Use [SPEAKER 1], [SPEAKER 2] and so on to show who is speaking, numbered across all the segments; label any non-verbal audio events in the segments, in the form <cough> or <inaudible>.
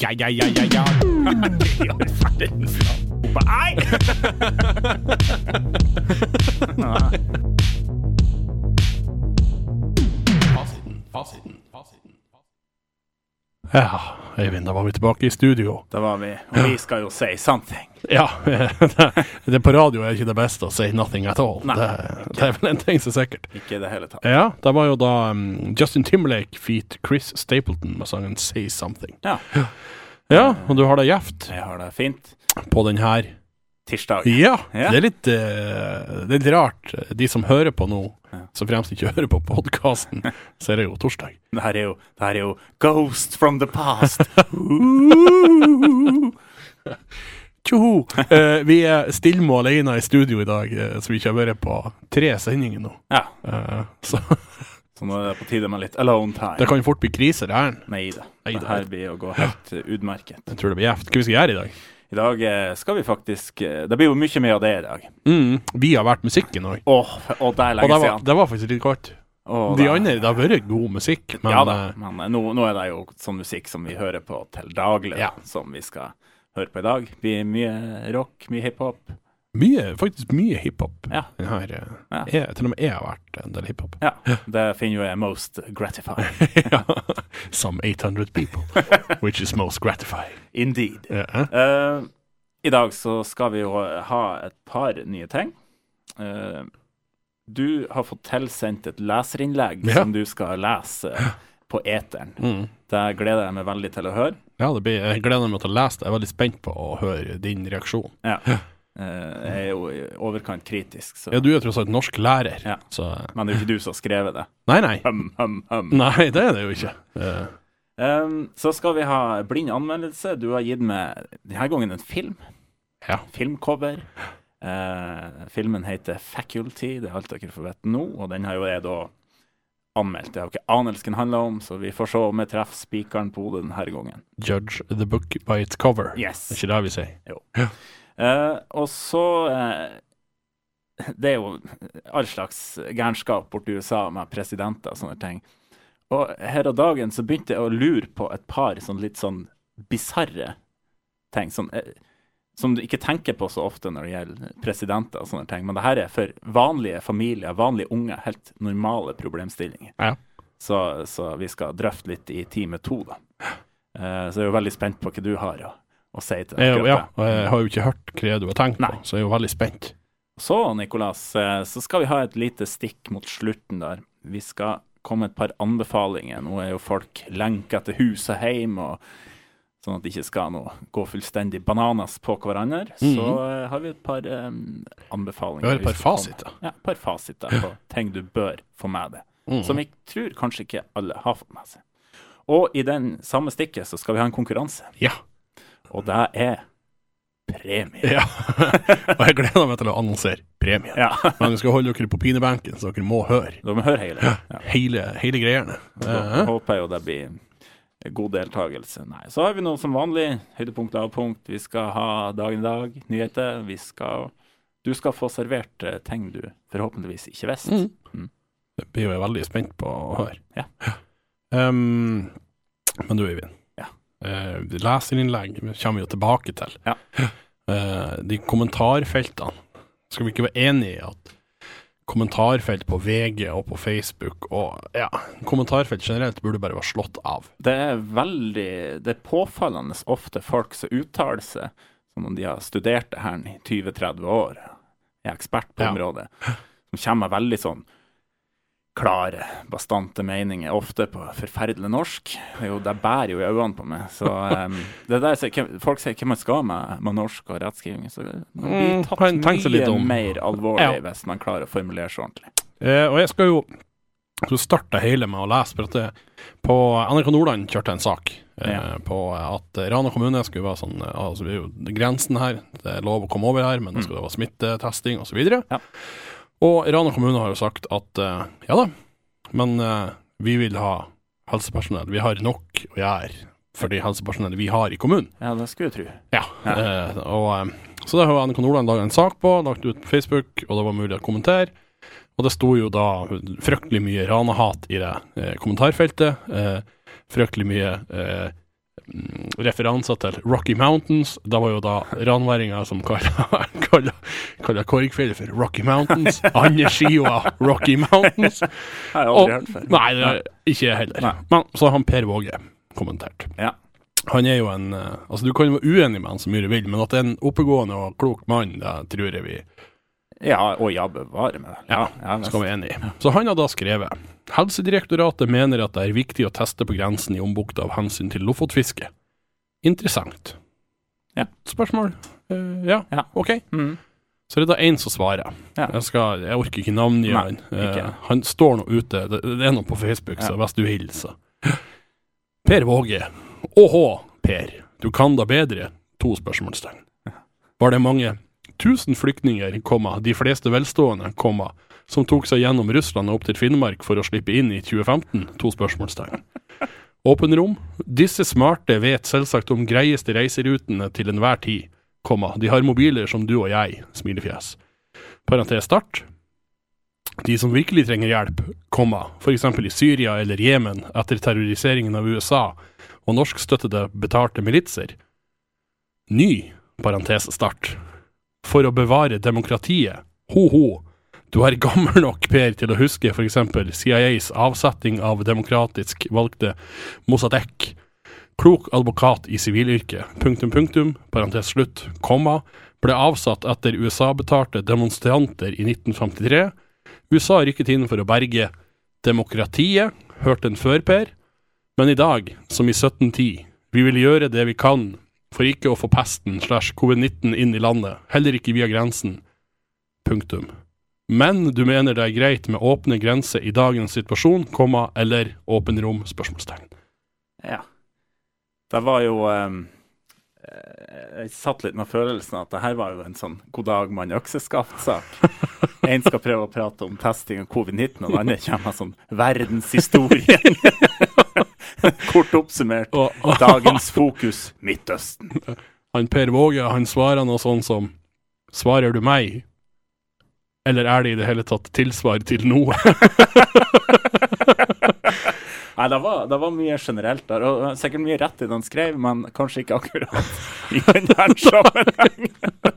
[SPEAKER 1] ja, ja, ja, ja,
[SPEAKER 2] <laughs>
[SPEAKER 1] ja. I all verdens land. Nei!
[SPEAKER 3] Fasiten, fasiten, fasiten.
[SPEAKER 2] Ja, Øyvind, da var vi tilbake i studio.
[SPEAKER 1] Da var vi. Og vi skal jo si something.
[SPEAKER 2] Ja, <laughs> det er på radio er ikke det beste å si 'nothing at all'.
[SPEAKER 1] Nei,
[SPEAKER 2] det, det er vel en ting som er sikkert.
[SPEAKER 1] Ikke i det hele tatt.
[SPEAKER 2] Ja, det var jo da um, Justin Timberlake feat Chris Stapleton med sangen 'Say Something'.
[SPEAKER 1] Ja,
[SPEAKER 2] Ja, og du har det gjevt
[SPEAKER 1] jeg har det fint.
[SPEAKER 2] på den her.
[SPEAKER 1] Tirsdag.
[SPEAKER 2] Ja,
[SPEAKER 1] Ja.
[SPEAKER 2] det er litt, eh, det er litt rart. De som hører på nå,
[SPEAKER 1] Ja.
[SPEAKER 2] så fremst ikke hører på
[SPEAKER 1] <laughs>
[SPEAKER 2] podkasten, så er det jo torsdag.
[SPEAKER 1] Det her er jo, det her er jo Ghost from the past.
[SPEAKER 2] <laughs> Tjoho! Eh, vi er stillme og alene i studio i dag, eh, så vi ikke har vært på tre sendinger nå.
[SPEAKER 1] Ja,
[SPEAKER 2] Eh, så <laughs>
[SPEAKER 1] så nå er det på tide med litt alone time.
[SPEAKER 2] det kan jo fort bli krise, det her.
[SPEAKER 1] Nei da.
[SPEAKER 2] Nei da.
[SPEAKER 1] Det her blir å gå helt eh, utmerket.
[SPEAKER 2] Jeg tror det blir gjevt. Hva vi skal gjøre i dag?
[SPEAKER 1] I dag eh, skal vi faktisk eh, Det blir jo mye mer av det i dag.
[SPEAKER 2] Mm, vi har vært musikken òg.
[SPEAKER 1] Åh, f- åh, det er
[SPEAKER 2] Og
[SPEAKER 1] lenge
[SPEAKER 2] det var,
[SPEAKER 1] siden.
[SPEAKER 2] det var faktisk litt godt.
[SPEAKER 1] Åh,
[SPEAKER 2] De
[SPEAKER 1] det-
[SPEAKER 2] andre, det har vært god musikk, men
[SPEAKER 1] ja da,
[SPEAKER 2] eh,
[SPEAKER 1] men eh, nå, nå er det jo sånn musikk som vi hører på til daglig,
[SPEAKER 2] Ja.
[SPEAKER 1] som vi skal høre på i dag. Det blir mye rock, mye hiphop.
[SPEAKER 2] mye, faktisk mye hiphop.
[SPEAKER 1] Ja.
[SPEAKER 2] Den her, eh,
[SPEAKER 1] Ja.
[SPEAKER 2] jeg, til og med jeg har vært en del
[SPEAKER 1] <laughs>
[SPEAKER 2] hiphop. <laughs>
[SPEAKER 1] Ja, det finner jo jeg most gratifying.
[SPEAKER 2] Ja. Some 800
[SPEAKER 1] <laughs>
[SPEAKER 2] people, which is most gratifying.
[SPEAKER 1] Indeed.
[SPEAKER 2] Ja.
[SPEAKER 1] Eh, I dag så skal vi jo ha et par nye ting. Eh, du har fått tilsendt et leserinnlegg
[SPEAKER 2] Ja.
[SPEAKER 1] som du skal lese på eteren.
[SPEAKER 2] Mm.
[SPEAKER 1] Det gleder jeg meg veldig til å høre.
[SPEAKER 2] Ja, det blir, jeg gleder meg til å lese det. Jeg er veldig spent på å høre din reaksjon.
[SPEAKER 1] Ja. Eh, jeg er jo i overkant kritisk, så.
[SPEAKER 2] Ja, du er tross alt norsk lærer,
[SPEAKER 1] Ja.
[SPEAKER 2] så
[SPEAKER 1] men det er jo ikke du som har skrevet det.
[SPEAKER 2] Nei, nei.
[SPEAKER 1] Hum, hum, hum.
[SPEAKER 2] Nei, det er det jo ikke. Eh,
[SPEAKER 1] Eh, så skal vi ha blind anmeldelse. Du har gitt meg denne gangen en film.
[SPEAKER 2] ja.
[SPEAKER 1] filmcover. Eh, filmen heter 'Faculty', det er alt dere får vite nå. Og den har jo jeg da anmeldt. Jeg har jo ikke anelse hva den handler om, så vi får se om jeg treffer spikeren på hodet denne gangen.
[SPEAKER 2] Judge the book by its cover.
[SPEAKER 1] Yes.
[SPEAKER 2] Er ikke det vi sier?
[SPEAKER 1] Eh, og så eh, Det er jo all slags gærenskap borti USA med presidenter og sånne ting. Og her og dagen så begynte jeg å lure på et par sånn litt sånn bisarre ting. Sånn, eh, som du ikke tenker på så ofte når det gjelder presidenter og sånne ting. Men det her er for vanlige familier, vanlige unge, helt normale problemstillinger.
[SPEAKER 2] Ja.
[SPEAKER 1] Så, så vi skal drøfte litt i time to, da. Eh, så jeg er jo veldig spent på hva du har å, å si til
[SPEAKER 2] Jeg, ja,
[SPEAKER 1] akkurat det.
[SPEAKER 2] og jeg har jo ikke hørt hva du har tenkt
[SPEAKER 1] Nei.
[SPEAKER 2] på, så jeg er jo veldig spent.
[SPEAKER 1] Så, Nikolas, eh, så skal vi ha et lite stikk mot slutten der. Vi skal komme med et par anbefalinger. Nå er jo folk lenka til hus og heim, og sånn at de ikke skal nå gå fullstendig bananas på hverandre. Så eh, har vi et par eh, anbefalinger.
[SPEAKER 2] Mhm. Vi har et par
[SPEAKER 1] skal komme-
[SPEAKER 2] fasiter.
[SPEAKER 1] Ja, et par fasiter
[SPEAKER 2] <laughs>
[SPEAKER 1] på ting du bør få med deg.
[SPEAKER 2] Mhm. Mm.
[SPEAKER 1] Som jeg tror kanskje ikke alle har fått med seg. Og i den samme stikket så skal vi ha en konkurranse,
[SPEAKER 2] Ja. <laughs>
[SPEAKER 1] og det er premie.
[SPEAKER 2] ja. og jeg gleder meg til å annonsere premien.
[SPEAKER 1] Ja. <laughs>
[SPEAKER 2] Men vi skal holde dere på pinebenken, så dere må høre
[SPEAKER 1] Da må vi høre hele. Ja.
[SPEAKER 2] hele, hele greiene. Eh,
[SPEAKER 1] Da håper jeg jo det blir god deltakelse. Nei, så har vi noe som vanlig. Høydepunkt, lavpunkt. Vi skal ha dagen i dag, nyheter. Vi skal Du skal få servert eh, ting du forhåpentligvis ikke visste.
[SPEAKER 2] Mm. Det blir jo jeg veldig spent på å høre.
[SPEAKER 1] Ja.
[SPEAKER 2] Ehm, men du, Øyvind.
[SPEAKER 1] Ja.
[SPEAKER 2] Eh, leserinnlegg kommer vi jo tilbake til.
[SPEAKER 1] Ja.
[SPEAKER 2] <laughs> Eh, de kommentarfeltene Skal vi ikke være enige i at kommentarfelt på VG og på Facebook og ja, kommentarfelt generelt burde bare være slått av?
[SPEAKER 1] Det er veldig Det er påfallende ofte folk som uttaler seg som om de har studert det her i 20-30 år, er ekspert på
[SPEAKER 2] Ja.
[SPEAKER 1] området, som kommer med veldig sånn klare, bastante meninger, ofte på forferdelig norsk. Det er jo, det bærer jo i øynene på meg.
[SPEAKER 2] <laughs>
[SPEAKER 1] Så em, det der, sier- hvem- Folk sier hva man skal med, med norsk og rettskriving, så det blir
[SPEAKER 2] Mm,
[SPEAKER 1] tatt
[SPEAKER 2] kan tenke seg litt
[SPEAKER 1] mye
[SPEAKER 2] om.
[SPEAKER 1] mer alvorlig
[SPEAKER 2] Ja.
[SPEAKER 1] hvis man klarer å formulere seg ordentlig.
[SPEAKER 2] Eh, og jeg skal jo så starte hele med å lese, for at det, på NRK Nordland kjørte jeg en sak eh,
[SPEAKER 1] Ja.
[SPEAKER 2] på at Rana kommune skulle være sånn eh, altså det er jo grensen her, det er lov å komme over her, men da skal det være smittetesting osv. videre
[SPEAKER 1] Mm. Ja.
[SPEAKER 2] Og Rana kommune har jo sagt at eh, ja da, men eh, vi vil ha helsepersonell. Vi har nok å gjøre for de helsepersonellet vi har i kommunen.
[SPEAKER 1] Ja, det skulle jeg tro.
[SPEAKER 2] Ja. Eh, og, eh, så det har jo NRK Nordland laga en sak på, lagt ut på Facebook, og det var mulig å kommentere. Og det sto jo da fryktelig mye ranehat i det eh, kommentarfeltet. Eh, fryktelig mye eh, mm, referanser til Rocky Mountains. Da var jo da ranværinger som <laughs> kalla kalla- kalla Korgfjellet for Rocky Mountains. Andre skiva Rocky Mountains.
[SPEAKER 1] har jeg aldri
[SPEAKER 2] Og-
[SPEAKER 1] hørt før.
[SPEAKER 2] Nei, det har jeg ikke jeg heller.
[SPEAKER 1] Nei.
[SPEAKER 2] Men så har han Per Våge kommentert.
[SPEAKER 1] Ja.
[SPEAKER 2] Han er jo en eh, Altså, du kan jo være uenig med han så mye du vil, men at det er en oppegående og klok mann, det tror jeg vi
[SPEAKER 1] Ja, og ja, bevare meg. vel.
[SPEAKER 2] Ja,
[SPEAKER 1] ja,
[SPEAKER 2] skal være enig i. Så han har da skrevet Helsedirektoratet mener at det er viktig å teste på grensen i ombukta av hensyn til lofotfiske. Interessant.
[SPEAKER 1] Ja.
[SPEAKER 2] Spørsmål? Eh, ja.
[SPEAKER 1] Ja.
[SPEAKER 2] ok.
[SPEAKER 1] Mm.
[SPEAKER 2] Så er det da én som svarer.
[SPEAKER 1] Ja.
[SPEAKER 2] Jeg, skal, jeg orker ikke navngi
[SPEAKER 1] Nei,
[SPEAKER 2] han.
[SPEAKER 1] ikke.
[SPEAKER 2] Eh, han står nå ute. Det, det er noe på Facebook, så
[SPEAKER 1] Ja.
[SPEAKER 2] hvis du hilser. Per Våge. Åhå, Per. Du kan da bedre? To spørsmålstegn. Var det mange tusen flyktninger, komma, de fleste velstående, komma, som tok seg gjennom Russland og opp til Finnmark for å slippe inn i 2015? To spørsmålstegn. Åpen rom. Disse smarte vet selvsagt om greieste reiserutene til enhver tid, komma, de har mobiler som du og jeg, smilefjes. Parentes start. De som virkelig trenger hjelp, komma, f.eks. i Syria eller Jemen etter terroriseringen av USA og norskstøttede betalte militser. Ny parentes start. For å bevare demokratiet. Ho-ho. Du er gammel nok, Per, til å huske f.eks. CIAs avsetting av demokratisk valgte Mossadegh. Klok advokat i sivilyrket. Punktum, punktum, parentes slutt, komma, ble avsatt etter USA-betalte demonstranter i 1953. USA rykket inn for å berge demokratiet, hørte en før, Per. Men i dag, som i 1710, vi vil gjøre det vi kan for ikke å få pesten slash covid-19 inn i landet, heller ikke via grensen. Punktum. Men du mener det er greit med åpne grenser i dagens situasjon, komma, eller åpen rom? spørsmålstegn.
[SPEAKER 1] Ja. Det var jo ehm, eh, Jeg satt litt med følelsen at det her var jo en sånn god dag, mann, økseskaft-sak. En skal prøve å prate om testing av covid-19, og den andre kommer med sånn verdenshistorien. Kort oppsummert.
[SPEAKER 2] Og,
[SPEAKER 1] Dagens fokus Midtøsten.
[SPEAKER 2] Han Per Våge, han svarer noe sånn som Svarer du meg? Eller er det i det hele tatt tilsvar til noe?
[SPEAKER 1] Nei, det var, det var mye generelt der, og eh, sikkert mye rett i det han skrev, men kanskje ikke akkurat i denne sammenhengen.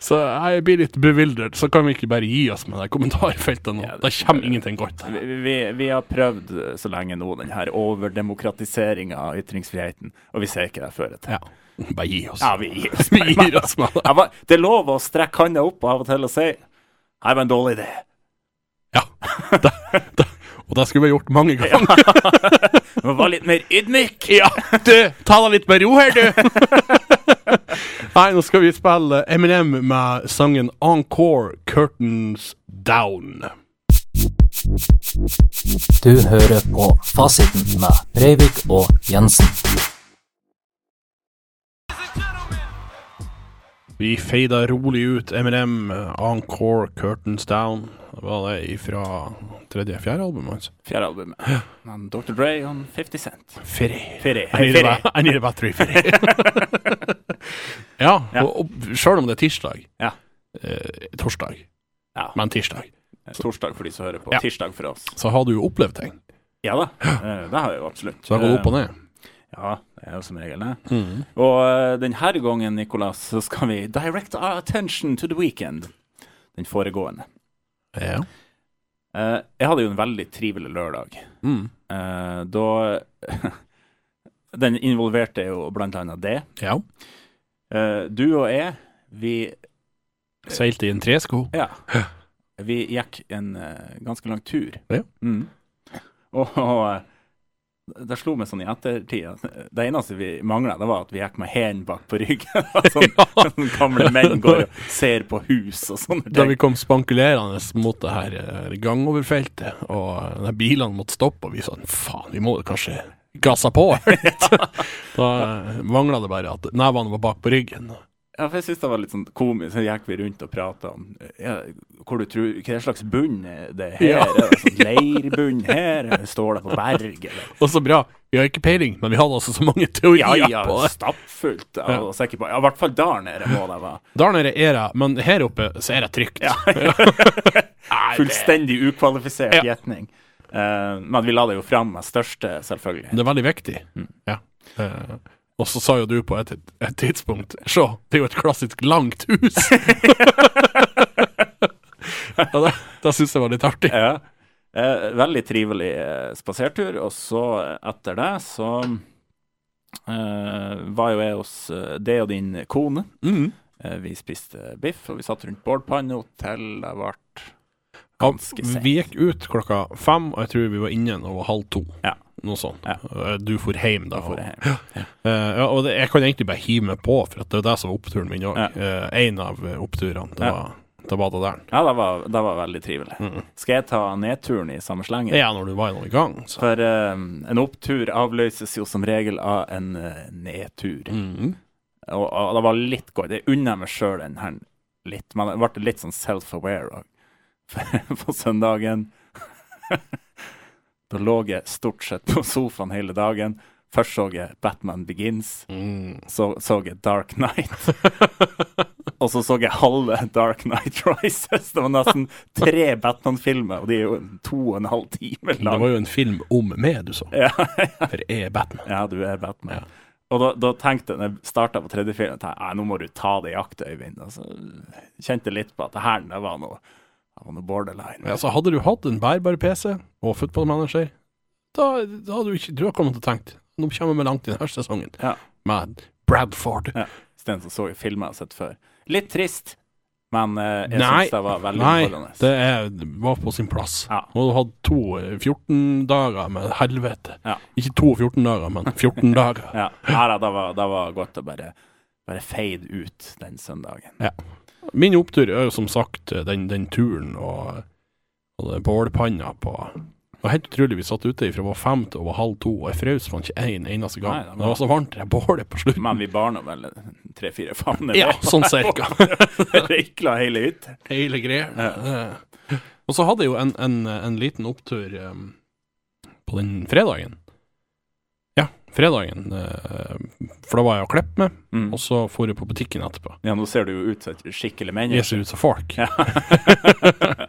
[SPEAKER 2] Så jeg blir litt bevildet. Så kan vi ikke bare gi oss med det kommentarfeltet nå.
[SPEAKER 1] Ja, det-
[SPEAKER 2] det kommer ingenting godt.
[SPEAKER 1] Vi, vi, vi har prøvd eh, så lenge nå den her overdemokratiseringa av ytringsfriheten, og vi ser ikke det føre til.
[SPEAKER 2] Ja. Bare gi oss.
[SPEAKER 1] Ja, vi gir oss.
[SPEAKER 2] <laughs> Vi gir
[SPEAKER 1] <laughs>
[SPEAKER 2] oss med det.
[SPEAKER 1] Jeg var, det er lov å strekke handa opp av og til og si Nei, det var en dårlig idé.
[SPEAKER 2] Ja. Det, det, og det skulle vi ha gjort mange ganger.
[SPEAKER 1] Men var litt mer ydmyk.
[SPEAKER 2] <laughs> Ja, du! Ta deg litt med ro her, du! <laughs> Nei, nå skal vi spille Eminem med sangen Encore Curtains Down.
[SPEAKER 4] Du hører på Fasiten med Breivik og Jensen.
[SPEAKER 2] Vi feida rolig ut Eminem, Encore Curtains Down. Det var det ifra tredje-fjerde albumet hans.
[SPEAKER 1] Fjerde albumet. Men Dr. Dre og 50 Cent.
[SPEAKER 2] Ferry.
[SPEAKER 1] Ferry.
[SPEAKER 2] I need, a
[SPEAKER 1] Ferry.
[SPEAKER 2] ba- I need a battery, Ferry. <laughs> ja,
[SPEAKER 1] Ja.
[SPEAKER 2] og, og sjøl om det er tirsdag
[SPEAKER 1] Ja.
[SPEAKER 2] eh, Torsdag,
[SPEAKER 1] Ja.
[SPEAKER 2] men tirsdag.
[SPEAKER 1] Torsdag for de som hører på.
[SPEAKER 2] Ja.
[SPEAKER 1] Tirsdag for oss.
[SPEAKER 2] Så har du jo opplevd ting.
[SPEAKER 1] Ja da, eh, det har jeg jo absolutt. Eh,
[SPEAKER 2] Så det går opp og ned.
[SPEAKER 1] Ja, det er jo som regel det. Og eh, denne gangen, Nicolas, så skal vi direct our attention to the weekend. Den foregående.
[SPEAKER 2] Ja.
[SPEAKER 1] Eh, jeg hadde jo en veldig trivelig lørdag.
[SPEAKER 2] Mm.
[SPEAKER 1] Eh, da <laughs> Den involverte jo blant annet det.
[SPEAKER 2] ja.
[SPEAKER 1] Eh, du og jeg, vi,
[SPEAKER 2] Seilte i en tresko.
[SPEAKER 1] ja, vi gikk en eh, ganske lang tur.
[SPEAKER 2] Ja.
[SPEAKER 1] Mm. Og, og eh, det slo meg sånn i ettertid at det eneste vi mangla, det var at vi gikk med hendene bak på ryggen. <laughs> sånn, sånn gamle menn går
[SPEAKER 2] <laughs>
[SPEAKER 1] og ser på hus og sånne
[SPEAKER 2] Da
[SPEAKER 1] ting.
[SPEAKER 2] vi kom spankulerende mot det her eh, gangoverfeltet, og eh, de bilene måtte stoppe, og vi sånn faen, vi må kanskje gasse på litt. da mangla det bare at nevene var bak på ryggen.
[SPEAKER 1] Ja, for jeg synes det var litt sånn komisk. Så gikk vi rundt og prata om ja, hvor du tror, hva slags bunn er det her
[SPEAKER 2] Ja.
[SPEAKER 1] er. Det sånn leirbunn her? eller Står det på berg? Eller?
[SPEAKER 2] Og så bra, vi har ikke peiling, men vi hadde altså så mange teorier
[SPEAKER 1] Ja, ja,
[SPEAKER 2] på det.
[SPEAKER 1] stappfullt. Ja,
[SPEAKER 2] Ja.
[SPEAKER 1] og sikker på. Ja, I hvert fall der nede må det være.
[SPEAKER 2] Der nede er det, men <laughs> her oppe så er det trygt.
[SPEAKER 1] Fullstendig ukvalifisert
[SPEAKER 2] Ja.
[SPEAKER 1] gjetning. Eh, men vi la det jo fram med største, selvfølgelig.
[SPEAKER 2] Det er veldig viktig. Mm, Ja. Eh, og så sa jo du på et, et tidspunkt Se, det er jo et klassisk langt hus!
[SPEAKER 1] <laughs>
[SPEAKER 2] ja, det, det syns jeg var litt artig.
[SPEAKER 1] Ja. Eh, veldig trivelig eh, spasertur. Og så, eh, etter det, så eh, var jo jeg hos eh, deg og din kone.
[SPEAKER 2] Mm.
[SPEAKER 1] Eh, vi spiste biff, og vi satt rundt bålpanna til det ble
[SPEAKER 2] Ja,
[SPEAKER 1] ganske sent.
[SPEAKER 2] vi gikk ut klokka fem, og jeg tror vi var inne når det var halv to.
[SPEAKER 1] Ja.
[SPEAKER 2] Noe sånt.
[SPEAKER 1] Ja.
[SPEAKER 2] Eh, Du for hjem da.
[SPEAKER 1] for det
[SPEAKER 2] og-
[SPEAKER 1] her.
[SPEAKER 2] Eh, ja, og det, jeg kan egentlig bare hive meg på, for at det er jo det som var oppturen min òg.
[SPEAKER 1] Ja.
[SPEAKER 2] en av eh, oppturene. Det,
[SPEAKER 1] Ja.
[SPEAKER 2] var, det var det der. Mm.
[SPEAKER 1] Ja, det var, det var veldig trivelig. Skal jeg ta nedturen i samme slenge?
[SPEAKER 2] Ja, når du var nå i gang, så
[SPEAKER 1] For eh, en opptur avløses jo som regel av en eh, nedtur.
[SPEAKER 2] Mhm.
[SPEAKER 1] Og, og det var litt godt. Jeg unner meg sjøl den her litt, men jeg ble litt sånn self-aware òg. For <laughs> på søndagen Da lå jeg stort sett på sofaen hele dagen. Først så jeg Batman Begins,
[SPEAKER 2] Mm.
[SPEAKER 1] så så jeg Dark Knight. <laughs> og så så jeg halve Dark Knight <laughs> Rises. Det var nesten tre Batman-filmer, og de er jo en to og en halv time
[SPEAKER 2] Det var
[SPEAKER 1] lange.
[SPEAKER 2] jo en film om meg, du så.
[SPEAKER 1] Ja,
[SPEAKER 2] <laughs> For jeg er Batman.
[SPEAKER 1] Ja, du er Batman. Og da, da tenkte jeg, når jeg starta på tredje film, tenkte jeg, «Nei, nå må du ta det i akt, Øyvind. Og så kjente jeg litt på at det her det var noe, det var noe borderline.
[SPEAKER 2] Ja, så hadde du hatt en bærbar PC og footballmanager, da, da hadde du ikke Du har kommet til å tenke Nå kommer vi langt i denne sesongen
[SPEAKER 1] Ja.
[SPEAKER 2] med Bradford.
[SPEAKER 1] Ja. Isteden så så jeg filmer jeg har sett før. Litt trist, men eh, jeg
[SPEAKER 2] Nei.
[SPEAKER 1] syns det var veldig
[SPEAKER 2] Nei,
[SPEAKER 1] underholdende.
[SPEAKER 2] det er, var på sin plass.
[SPEAKER 1] Ja.
[SPEAKER 2] Og du hadde to eh, 14 dager med helvete.
[SPEAKER 1] Ja.
[SPEAKER 2] Ikke to 14 dager, men <laughs> 14 dager.
[SPEAKER 1] Ja, nei, da, det, var, det var godt å bare, bare fade ut den søndagen.
[SPEAKER 2] Min opptur er jo som sagt eh, den, den turen og, og det bålpanna på Det var helt utrolig. Vi satt ute fra var fem til over halv to, og jeg frøs faen ikke en eneste gang.
[SPEAKER 1] Nei, det
[SPEAKER 2] det,
[SPEAKER 1] var-
[SPEAKER 2] var... så varmt det bålet på slutten.
[SPEAKER 1] Men vi barna vel tre-fire favner.
[SPEAKER 2] Ja, sånn cirka.
[SPEAKER 1] <laughs> Røykla hele hytta.
[SPEAKER 2] Hele greia. Eh, Og så hadde jeg jo en, en, en liten opptur eh, på den fredagen. Ja, fredagen. eh, for da var jeg og klippet meg,
[SPEAKER 1] Mm.
[SPEAKER 2] og så for jeg på butikken etterpå.
[SPEAKER 1] Ja, nå ser du jo ut som et skikkelig
[SPEAKER 2] Jeg
[SPEAKER 1] menneske.
[SPEAKER 2] ser ut som
[SPEAKER 1] <laughs>
[SPEAKER 2] folk.
[SPEAKER 1] Ja.
[SPEAKER 2] <laughs>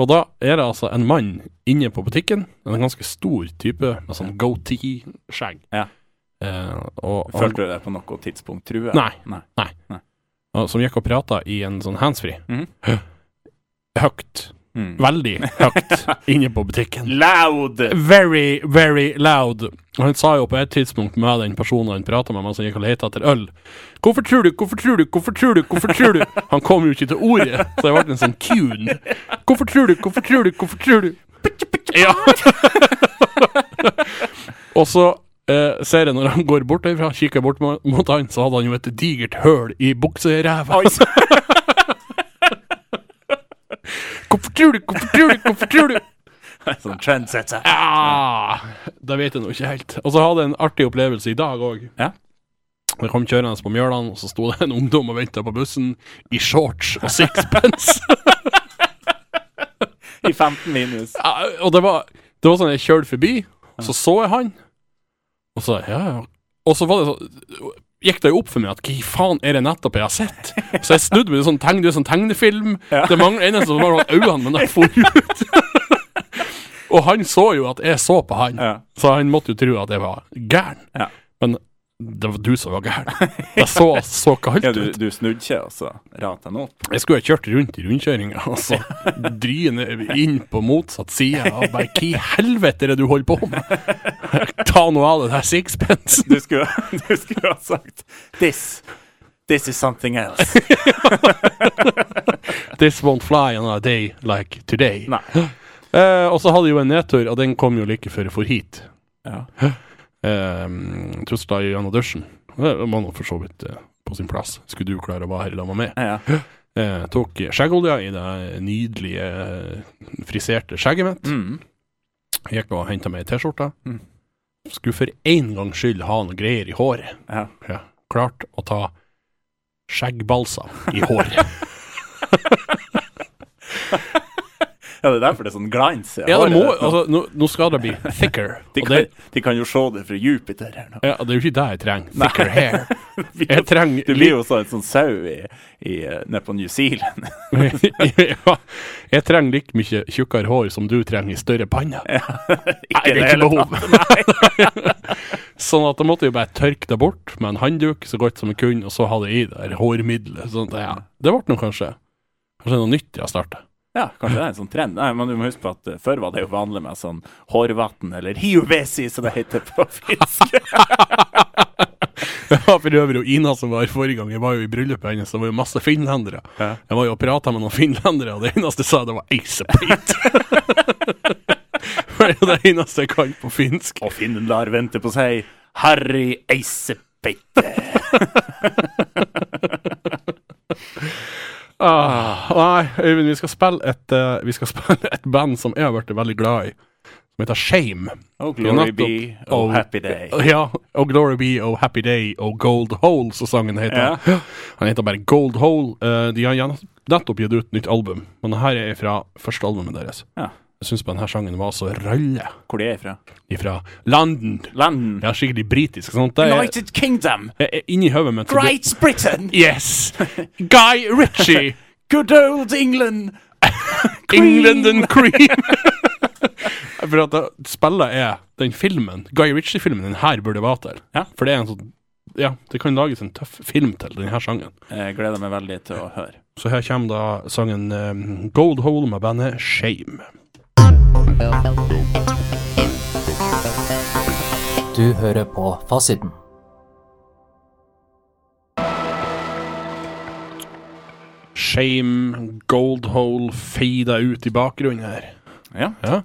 [SPEAKER 2] og da er det altså en mann inne på butikken, en ganske stor type, med sånn goatee-skjegg.
[SPEAKER 1] Ja.
[SPEAKER 2] Eh, og,
[SPEAKER 1] Følte du deg på noe tidspunkt trua?
[SPEAKER 2] Nei.
[SPEAKER 1] Nei.
[SPEAKER 2] Nei.
[SPEAKER 1] Nei.
[SPEAKER 2] Og, som gikk og prata i en sånn handsfree.
[SPEAKER 1] Mhm.
[SPEAKER 2] Høyt.
[SPEAKER 1] Mm.
[SPEAKER 2] Veldig
[SPEAKER 1] <laughs>
[SPEAKER 2] høyt inne på butikken.
[SPEAKER 1] Loud!
[SPEAKER 2] Very, very loud. Og han sa jo på et tidspunkt med den personen han prata med mens han gikk og lette etter øl Hvorfor tror du, hvorfor tror du, hvorfor tror du, hvorfor tror du? <laughs> Han kom jo ikke til ordet, så jeg ble en sånn tune. Hvorfor tror du, hvorfor tror du, hvorfor tror du? Ja. <laughs> og så eh, ser jeg når han går bort derfra, kikker jeg bort mot, mot han, så hadde han jo et digert høl i bukseræva.
[SPEAKER 1] Oi, så-
[SPEAKER 2] <laughs> Hvorfor tror du, hvorfor tror du, hvorfor tror du?
[SPEAKER 1] sånn trendsetter.
[SPEAKER 2] Ja, det vet jeg nå ikke helt. Og så hadde jeg en artig opplevelse i dag òg.
[SPEAKER 1] Ja.
[SPEAKER 2] Jeg kom kjørende på Mjøland, og så sto det en ungdom og venta på bussen i shorts og sixpence.
[SPEAKER 1] I 15 minus.
[SPEAKER 2] ja, og det var, det var sånn jeg kjørte forbi, og så så jeg han, og så ja, ja. Og så var det så, gikk det jo opp for meg at hva i faen er det nettopp jeg har sett? Så jeg snudde meg, det er sånn, tegn, det er sånn tegnefilm. Det mangler eneste som var øynene, men de for ut. <laughs> og han så jo at jeg så på han.
[SPEAKER 1] Ja.
[SPEAKER 2] Så han måtte jo tro at jeg var gæren.
[SPEAKER 1] Ja.
[SPEAKER 2] Men det var du som var gæren. Jeg så så
[SPEAKER 1] <laughs>
[SPEAKER 2] kaldt
[SPEAKER 1] Ja, du,
[SPEAKER 2] ut.
[SPEAKER 1] du snudde ikke, og så rata den opp?
[SPEAKER 2] Jeg skulle ha kjørt rundt i rundkjøringa, og så dryne inn på motsatt side. Og bare hva i helvete er det du holder på med? <laughs> Ta nå av det der
[SPEAKER 1] <laughs>
[SPEAKER 2] sixpencen.
[SPEAKER 1] Du skulle, du skulle ha sagt This This is something
[SPEAKER 2] <laughs>
[SPEAKER 1] else.
[SPEAKER 2] This won't fly on a day like today.
[SPEAKER 1] Nei.
[SPEAKER 2] <gasps> Eh, og så hadde jeg jo en nedtur, og den kom jo like før jeg for hit.
[SPEAKER 1] Ja.
[SPEAKER 2] Eh, Tusla gjennom dusjen. Det var nå for så vidt eh, på sin plass. Skulle du klare å være her sammen med meg?
[SPEAKER 1] Ja.
[SPEAKER 2] Eh, tok skjeggolja i det nydelige eh, friserte skjegget mitt.
[SPEAKER 1] Mm.
[SPEAKER 2] Gikk og henta meg ei T-skjorte.
[SPEAKER 1] Mm.
[SPEAKER 2] Skulle for én gangs skyld ha noe greier i håret.
[SPEAKER 1] ja.
[SPEAKER 2] Ja. Klart å ta skjeggbalsam i håret.
[SPEAKER 1] ja, det er derfor det er sånn glans. i
[SPEAKER 2] ja,
[SPEAKER 1] håret.
[SPEAKER 2] det må, altså, nå, nå skal det bli thicker.
[SPEAKER 1] de,
[SPEAKER 2] og
[SPEAKER 1] kan,
[SPEAKER 2] det,
[SPEAKER 1] de kan jo se det fra Jupiter her nå. <laughs>
[SPEAKER 2] ja, det er jo ikke det jeg trenger. Thicker hair. Jeg trenger
[SPEAKER 1] Du blir jo sånn en sånn sau i, i, eh, nede på New Zealand. <laughs>
[SPEAKER 2] ja, jeg trenger like mye tjukkere hår som du trenger i større panne. Nei, det er ikke
[SPEAKER 1] hele
[SPEAKER 2] behov. <laughs> sånn at da måtte vi bare tørke det bort med en handduk så godt som vi kunne, og så ha det i det her hårmiddelet. Sånn at, ja, det ble nå kanskje Kanskje noe nytt jeg starta. <laughs>
[SPEAKER 1] Ja, kanskje det er en sånn trend. Nei, men du må huske på at eh, Før var det jo vanlig med sånn hårvann, eller hiuvesi, som det heter på <laughs> finsk.
[SPEAKER 2] Det var for øvrig jo Ina som var her forrige gang. Jeg var jo i bryllupet hennes, det var jo masse finlendere.
[SPEAKER 1] Ja.
[SPEAKER 2] Jeg var jo og prata med noen finlendere, og det eneste jeg sa, det var eisepeit. <laughs> det er jo det eneste jeg kan på finsk.
[SPEAKER 1] Og finnen lar vente på seg. Harry <laughs> Eisepeite.
[SPEAKER 2] Ah, nei, Øyvind, vi skal spille et, eh, vi skal <laughs> spille et band som jeg har vært veldig glad i, som heter Shame.
[SPEAKER 1] Oh,
[SPEAKER 2] Vi har
[SPEAKER 1] glory
[SPEAKER 2] nettopp-
[SPEAKER 1] be, oh happy day.
[SPEAKER 2] Ja, og Glory Be, og Happy Day, og Gold Hole, som sangen heter.
[SPEAKER 1] Ja.
[SPEAKER 2] Han heter bare Gold Hole. Eh, de har gjen- nettopp gitt ut nytt album, men det her er fra første albumet deres.
[SPEAKER 1] Ja.
[SPEAKER 2] Jeg syns denne sangen var så rølle.
[SPEAKER 1] Hvor de er fra?
[SPEAKER 2] Fra London.
[SPEAKER 1] Landen.
[SPEAKER 2] Ja, skikkelig britisk. Sånn. Det er,
[SPEAKER 1] United Kingdom.
[SPEAKER 2] jeg er inni hodet mitt. så blir-
[SPEAKER 1] Great <laughs> Britain.
[SPEAKER 2] Yes! Guy Ritchie!
[SPEAKER 1] Good old England.
[SPEAKER 2] England and Cream. <laughs> For at da- spillet er den filmen, Guy Ritchie-filmen, den her burde være til.
[SPEAKER 1] Ja.
[SPEAKER 2] For det er en sånn Ja, det kan lages en tøff film til den her sangen.
[SPEAKER 1] Jeg gleder meg veldig til å høre.
[SPEAKER 2] Så her kommer da sangen um, Gold Hole med bandet Shame.
[SPEAKER 4] Du hører på Fasiten.
[SPEAKER 2] Shame, Gold Hole fada ut i bakgrunnen her.
[SPEAKER 1] Ja,
[SPEAKER 2] Ja.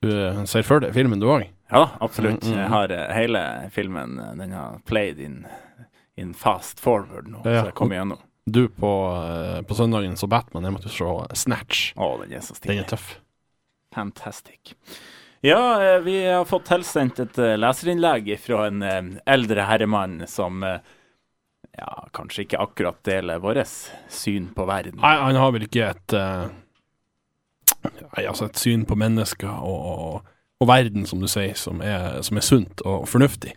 [SPEAKER 2] Du eh, ser for deg filmen, du òg?
[SPEAKER 1] ja da, absolutt.
[SPEAKER 2] Mm,
[SPEAKER 1] Jeg har eh, hele filmen eh, den har played in, in fast forward nå,
[SPEAKER 2] Ja.
[SPEAKER 1] så jeg kom igjennom.
[SPEAKER 2] Du på, eh, på søndagen så Batman, jeg måtte se Snatch.
[SPEAKER 1] Å, den er så
[SPEAKER 2] Den
[SPEAKER 1] stilig.
[SPEAKER 2] er tøff.
[SPEAKER 1] Fantastic. Ja, eh, vi har fått tilsendt et eh, leserinnlegg fra en eh, eldre herremann som eh, ja, kanskje ikke akkurat deler vårt syn på verden.
[SPEAKER 2] Nei, han har vel ikke et eh, Nei, altså et syn på mennesker og, og, og verden, som du sier, som er, som er sunt og fornuftig.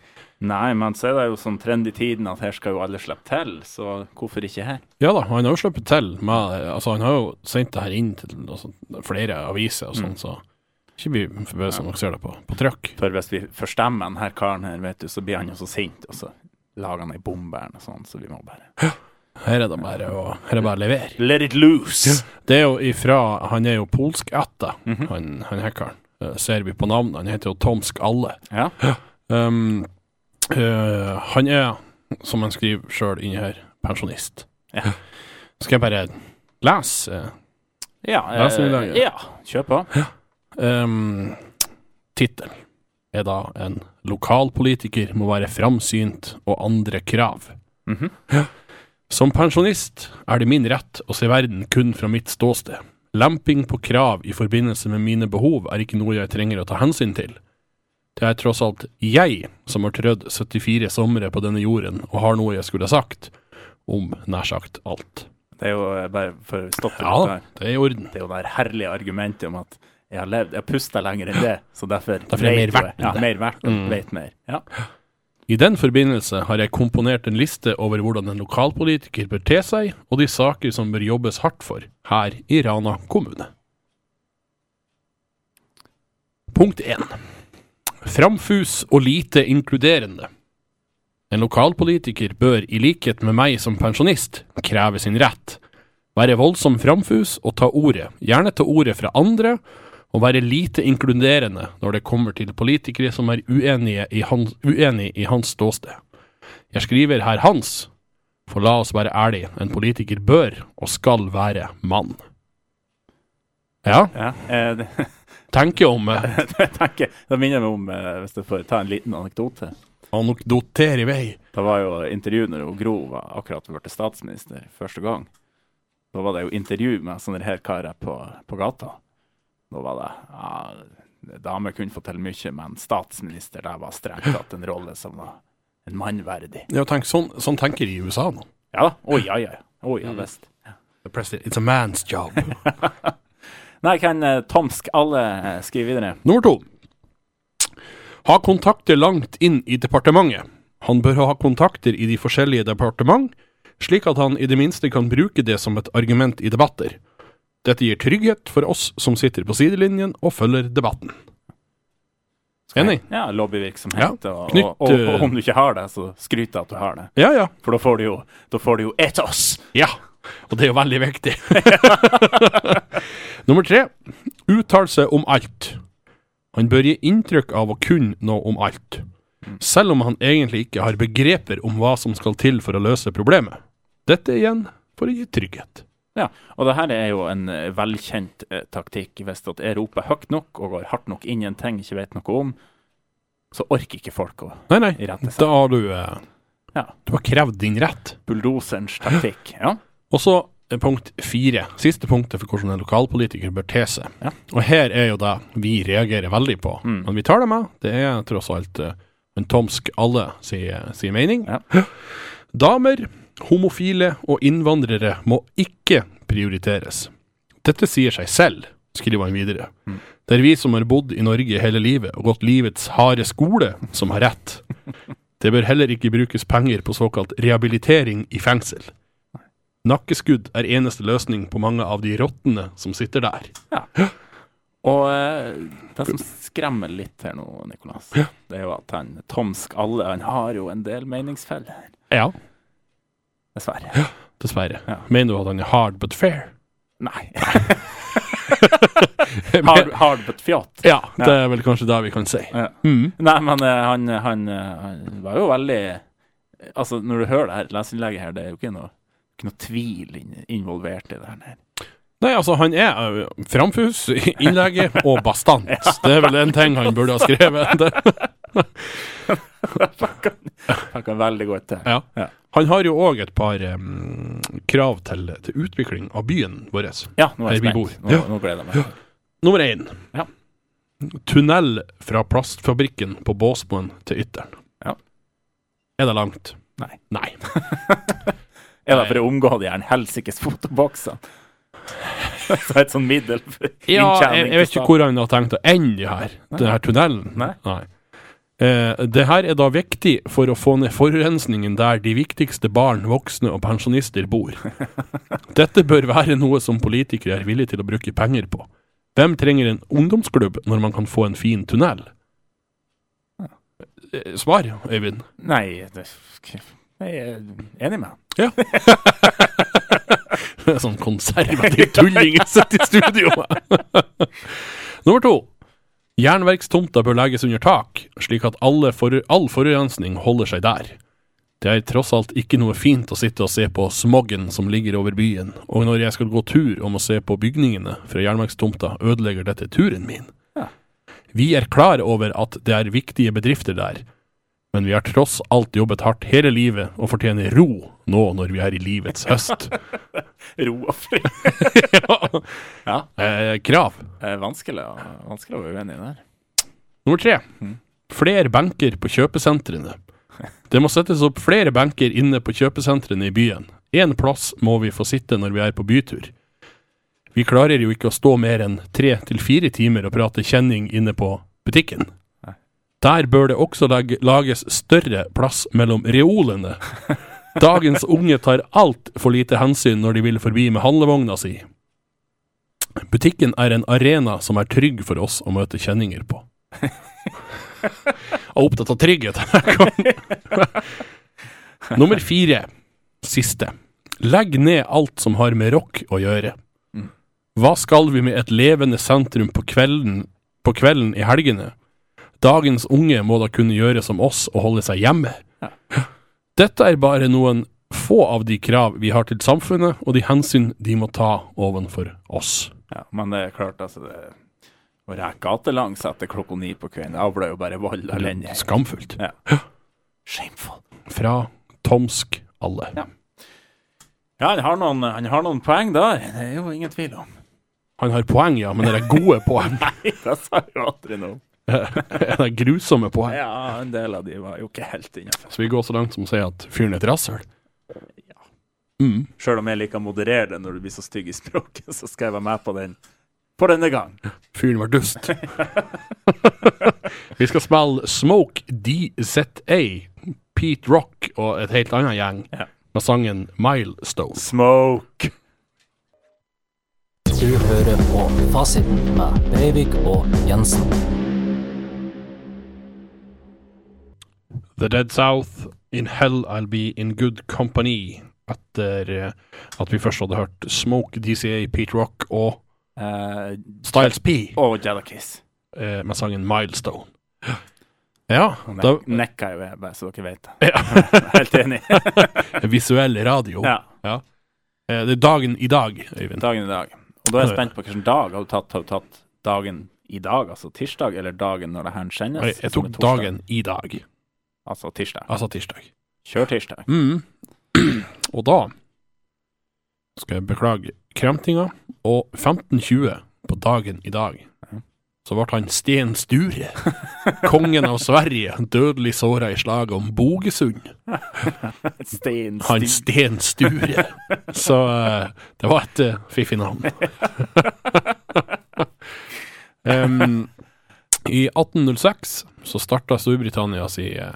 [SPEAKER 1] Nei, men så er det jo sånn trend i tiden at her skal jo alle slippe til, så hvorfor ikke her?
[SPEAKER 2] Ja da, han har jo sluppet til med Altså, han har jo sendt det her inn til altså, flere aviser og sånn, så ikke bli forbausa når dere ser det på, på trykk.
[SPEAKER 1] For hvis vi forstemmer den her karen her, vet du, så blir han jo så sint, og så lager han ei bombe eller noe sånt, så vi må bare
[SPEAKER 2] Her er det bare å her er det bare å levere.
[SPEAKER 1] Let it loose!
[SPEAKER 2] Det er jo ifra Han er jo polskætta,
[SPEAKER 1] Mhm.
[SPEAKER 2] han, han hackeren. Eh, ser vi på navnet. Han heter jo Tomsk Alle.
[SPEAKER 1] Ja.
[SPEAKER 2] Um, eh, han er, som han skriver sjøl inni her, pensjonist.
[SPEAKER 1] Ja.
[SPEAKER 2] Skal jeg bare lese? eh,
[SPEAKER 1] Ja,
[SPEAKER 2] Ja, så vi lager.
[SPEAKER 1] eh, ja. kjør på.
[SPEAKER 2] Um, Tittelen er da 'En lokalpolitiker må være framsynt og andre krav'.
[SPEAKER 1] Mhm.
[SPEAKER 2] Som pensjonist er det min rett å se verden kun fra mitt ståsted. Lemping på krav i forbindelse med mine behov er ikke noe jeg trenger å ta hensyn til. Det er tross alt jeg som har trødd 74 somre på denne jorden og har noe jeg skulle ha sagt om nær sagt alt.
[SPEAKER 1] Det er jo eh, bare for å stoppe
[SPEAKER 2] Ja
[SPEAKER 1] litt
[SPEAKER 2] da,
[SPEAKER 1] der.
[SPEAKER 2] det er i orden.
[SPEAKER 1] Det er jo det her herlige argumentet om at jeg har levd, jeg har pusta lenger enn det, så derfor
[SPEAKER 2] Derfor er jeg
[SPEAKER 1] vet
[SPEAKER 2] mer
[SPEAKER 1] jeg-
[SPEAKER 2] verdt Mm.
[SPEAKER 1] Ja,
[SPEAKER 2] enn det.
[SPEAKER 1] mer verdt og vet mer. Ja.
[SPEAKER 2] I den forbindelse har jeg komponert en liste over hvordan en lokalpolitiker bør te seg, og de saker som bør jobbes hardt for her i Rana kommune. Punkt 1. Framfus og lite inkluderende. En lokalpolitiker bør, i likhet med meg som pensjonist, kreve sin rett. Være voldsom framfus og ta ordet, gjerne ta ordet fra andre, å være lite inkluderende når det kommer til politikere som er uenige i hans, uenig i hans ståsted. Jeg skriver her hans, for la oss være ærlige, en politiker bør og skal være mann. Ja,
[SPEAKER 1] Ja. Eh, <laughs> det-
[SPEAKER 2] tenker om eh, <laughs>
[SPEAKER 1] Jeg tenker, det minner meg om, eh, hvis jeg får ta en liten anekdote
[SPEAKER 2] anekdoter i vei.
[SPEAKER 1] Det var jo intervju når hun Gro var akkurat ble statsminister første gang. Da var det jo intervju med sånne her karer på, på gata. Da var det ja, Damer kunne få til mye, men statsminister, det var strengt tatt en rolle som var en mann verdig.
[SPEAKER 2] Ja, tenk, sånn, sånn tenker de i USA nå.
[SPEAKER 1] Ja da. Å ja, ja. Å ja
[SPEAKER 2] Mm.
[SPEAKER 1] visst.
[SPEAKER 2] The president, It's a man's job.
[SPEAKER 1] Nei, kan eh, Tomsk alle eh, skrive videre?
[SPEAKER 2] Nummer to. Ha kontakter langt inn i departementet. Han bør ha kontakter i de forskjellige departement, slik at han i det minste kan bruke det som et argument i debatter. Dette gir trygghet for oss som sitter på sidelinjen og følger debatten. Enig?
[SPEAKER 1] Ja, lobbyvirksomhet.
[SPEAKER 2] Ja,
[SPEAKER 1] Og,
[SPEAKER 2] knytt,
[SPEAKER 1] og, og, og
[SPEAKER 2] eh,
[SPEAKER 1] om du ikke har det, så skryt av at du har det.
[SPEAKER 2] Ja, ja.
[SPEAKER 1] For da får du jo, da får du jo et oss!
[SPEAKER 2] Ja, og det er jo veldig viktig. <laughs> Nummer tre. Uttal seg om alt. Han bør gi inntrykk av å kunne noe om alt, selv om han egentlig ikke har begreper om hva som skal til for å løse problemet. Dette igjen for å gi trygghet.
[SPEAKER 1] Ja, og det her er jo en eh, velkjent eh, taktikk. Hvis at jeg roper høyt nok og går hardt nok inn i en ting jeg ikke vet noe om, så orker ikke folk å
[SPEAKER 2] Nei, nei,
[SPEAKER 1] Rett og slett.
[SPEAKER 2] da har du eh,
[SPEAKER 1] Ja.
[SPEAKER 2] Du har krevd din rett.
[SPEAKER 1] Bulldoserens taktikk. Ja.
[SPEAKER 2] Og så eh, punkt fire. Siste punktet for hvordan en lokalpolitiker bør te seg.
[SPEAKER 1] Ja.
[SPEAKER 2] Og her er jo det vi reagerer veldig på.
[SPEAKER 1] Mm.
[SPEAKER 2] Men vi tar det med. Det er tross alt eh, en tomsk alle sier sier mening.
[SPEAKER 1] Ja.
[SPEAKER 2] Damer, homofile og innvandrere må ikke prioriteres. Dette sier seg selv, skriver han videre.
[SPEAKER 1] Mm.
[SPEAKER 2] Det er vi som har bodd i Norge hele livet og gått livets harde skole, som har rett.
[SPEAKER 1] <laughs>
[SPEAKER 2] Det bør heller ikke brukes penger på såkalt rehabilitering i fengsel. Nakkeskudd er eneste løsning på mange av de rottene som sitter der.
[SPEAKER 1] Og eh, det som skremmer litt her nå, Nikolas, det er jo at han Tom Skalle han har jo en del meningsfeller,
[SPEAKER 2] Ja,
[SPEAKER 1] dessverre.
[SPEAKER 2] dessverre.
[SPEAKER 1] Ja.
[SPEAKER 2] Mener du at han er hard but fair?
[SPEAKER 1] Nei. <laughs> Hard, hard but fjott.
[SPEAKER 2] Ja, det er vel kanskje det vi kan si.
[SPEAKER 1] Ja.
[SPEAKER 2] Mm.
[SPEAKER 1] Nei, men eh, han, han, eh, han var jo veldig Altså, når du hører det her leserinnlegget her, det er jo ikke noe, ikke noe tvil inn- involvert i det her. nei.
[SPEAKER 2] Nei, altså, han er ø, framfus, <laughs> innlegget og <laughs> bastant. Det er vel en ting han burde ha skrevet. <laughs> Det.
[SPEAKER 1] Fikk han- fikk han veldig godt eh, til.
[SPEAKER 2] Ja.
[SPEAKER 1] Ja.
[SPEAKER 2] Han har jo òg et par em, krav til, til utvikling av byen vår.
[SPEAKER 1] Ja, nå er jeg
[SPEAKER 2] Her vi
[SPEAKER 1] spent.
[SPEAKER 2] bor.
[SPEAKER 1] Nå,
[SPEAKER 2] Ja.
[SPEAKER 1] nå gleder jeg meg.
[SPEAKER 2] Nummer én.
[SPEAKER 1] Ja.
[SPEAKER 2] Tunnel fra plastfabrikken på Båsmoen til Ytteren.
[SPEAKER 1] Ja.
[SPEAKER 2] Er det langt?
[SPEAKER 1] Nei.
[SPEAKER 2] Nei.
[SPEAKER 1] Er det for å omgå de her helsikes fotoboksene? Så et sånn middel <laughs> for
[SPEAKER 2] Ja, jeg,
[SPEAKER 1] inntjening
[SPEAKER 2] jeg
[SPEAKER 1] til
[SPEAKER 2] vet ikke hvor han har tenkt å ende det her, den her tunnelen.
[SPEAKER 1] Nei.
[SPEAKER 2] Eh, det her er da viktig for å få ned forurensningen der de viktigste barn, voksne og pensjonister
[SPEAKER 1] <laughs>
[SPEAKER 2] bor. Dette bør være noe som politikere er villige til å bruke penger på. Hvem trenger en ungdomsklubb når man kan få en fin tunnel? Eh, Svar, Øyvind.
[SPEAKER 1] staten. Nei, det, jeg er enig med han.
[SPEAKER 2] Det er sånn konservativ tulling som sitter i studio. Nummer to. Jernverkstomta bør legges under tak, slik at alle for, all forurensning holder seg der. Det er tross alt ikke noe fint å sitte og se på smoggen som ligger over byen, og når jeg skal gå tur om å se på bygningene fra jernverkstomta, ødelegger dette turen min.
[SPEAKER 1] Ja.
[SPEAKER 2] Vi er klar over at det er viktige bedrifter der, men vi har tross alt jobbet hardt hele livet og fortjener ro nå når vi er i livets høst.
[SPEAKER 1] Ro og
[SPEAKER 2] <laughs>
[SPEAKER 1] fri. Ja.
[SPEAKER 2] Eh, krav.
[SPEAKER 1] Eh, Vanskelig, å- vanskelig å være uenig der.
[SPEAKER 2] Nummer tre. Flere benker på kjøpesentrene. Det må settes opp flere benker inne på kjøpesentrene i byen. Én plass må vi få sitte når vi er på bytur. Vi klarer jo ikke å stå mer enn tre til fire timer og prate kjenning inne på butikken. Der bør det også lag- lages større plass mellom reolene. Dagens unge tar altfor lite hensyn når de vil forbi med handlevogna si. Butikken er en arena som er trygg for oss å møte kjenninger på. Jeg er opptatt av trygghet. denne gangen. <laughs> Nummer fire, siste. Legg ned alt som har med rock å gjøre. Hva skal vi med et levende sentrum på kvelden, på kvelden i helgene? Dagens unge må da kunne gjøre som oss og holde seg hjemme. <gasps> Dette er bare noen få av de krav vi har til samfunnet, og de hensyn de må ta ovenfor oss.
[SPEAKER 1] Ja, men det er klart, altså det, Å reke gatelangs etter klokka ni på kvelden avler jo bare vold og lenge.
[SPEAKER 2] Skamfullt.
[SPEAKER 1] Ja. Shameful.
[SPEAKER 2] Fra Tomsk alle.
[SPEAKER 1] Ja, han har, noen, han har noen poeng der. Det er jo ingen tvil om. <laughs>
[SPEAKER 2] Han har poeng, ja, men det er gode poeng.
[SPEAKER 1] Nei, det sa jeg jo aldri noe om.
[SPEAKER 2] Det <laughs> er grusomme poeng.
[SPEAKER 1] Ja, en del av de var jo ikke helt innafor.
[SPEAKER 2] Så vi går så langt som å si at fyren er et rasshøl. Mm.
[SPEAKER 1] Sjøl om jeg liker å moderere det når du blir så stygg i språket, så skal jeg være med på den for denne gang.
[SPEAKER 2] Fyren var
[SPEAKER 1] <laughs>
[SPEAKER 2] dust. vi skal spille Smoke DZA Pete Rock og et helt annet gjeng
[SPEAKER 1] Ja.
[SPEAKER 2] med sangen Milestones.
[SPEAKER 1] Smoke.
[SPEAKER 4] Du hører på Fasiten med Breivik og Jensen.
[SPEAKER 2] The Dead South, In Hell I'll Be In Good Company. Etter eh, at vi først hadde hørt Smoke, DCA, Pete Rock og
[SPEAKER 1] Eh,
[SPEAKER 2] Styles P
[SPEAKER 1] og Jellikiss.
[SPEAKER 2] eh, med sangen Milestone. Ja, da,
[SPEAKER 1] Nekka jo jeg, bare så dere vet det.
[SPEAKER 2] ja.
[SPEAKER 1] <laughs> Helt enig.
[SPEAKER 2] visuell radio.
[SPEAKER 1] ja,
[SPEAKER 2] Eh, det er dagen i dag, Øyvind.
[SPEAKER 1] dagen i dag. Og da er jeg spent på hvilken dag har du tatt. Har du tatt dagen i dag, altså tirsdag, eller dagen når det her sendes?
[SPEAKER 2] Jeg, jeg
[SPEAKER 1] som
[SPEAKER 2] tok
[SPEAKER 1] er torsdag?
[SPEAKER 2] dagen i dag,
[SPEAKER 1] Altså tirsdag.
[SPEAKER 2] altså tirsdag.
[SPEAKER 1] Kjør tirsdag.
[SPEAKER 2] Mm. <clears throat> Og da skal jeg beklage kremtinga. Og 15.20 på dagen i dag så ble han Sten Sture, kongen av Sverige, dødelig såra i slaget om Bogesund.
[SPEAKER 1] <laughs> Stein,
[SPEAKER 2] Han
[SPEAKER 1] Stig. <laughs>
[SPEAKER 2] Sten Sture. Så eh, det var et eh, fiffig navn. Em, I 1806 så starta Storbritannia si eh,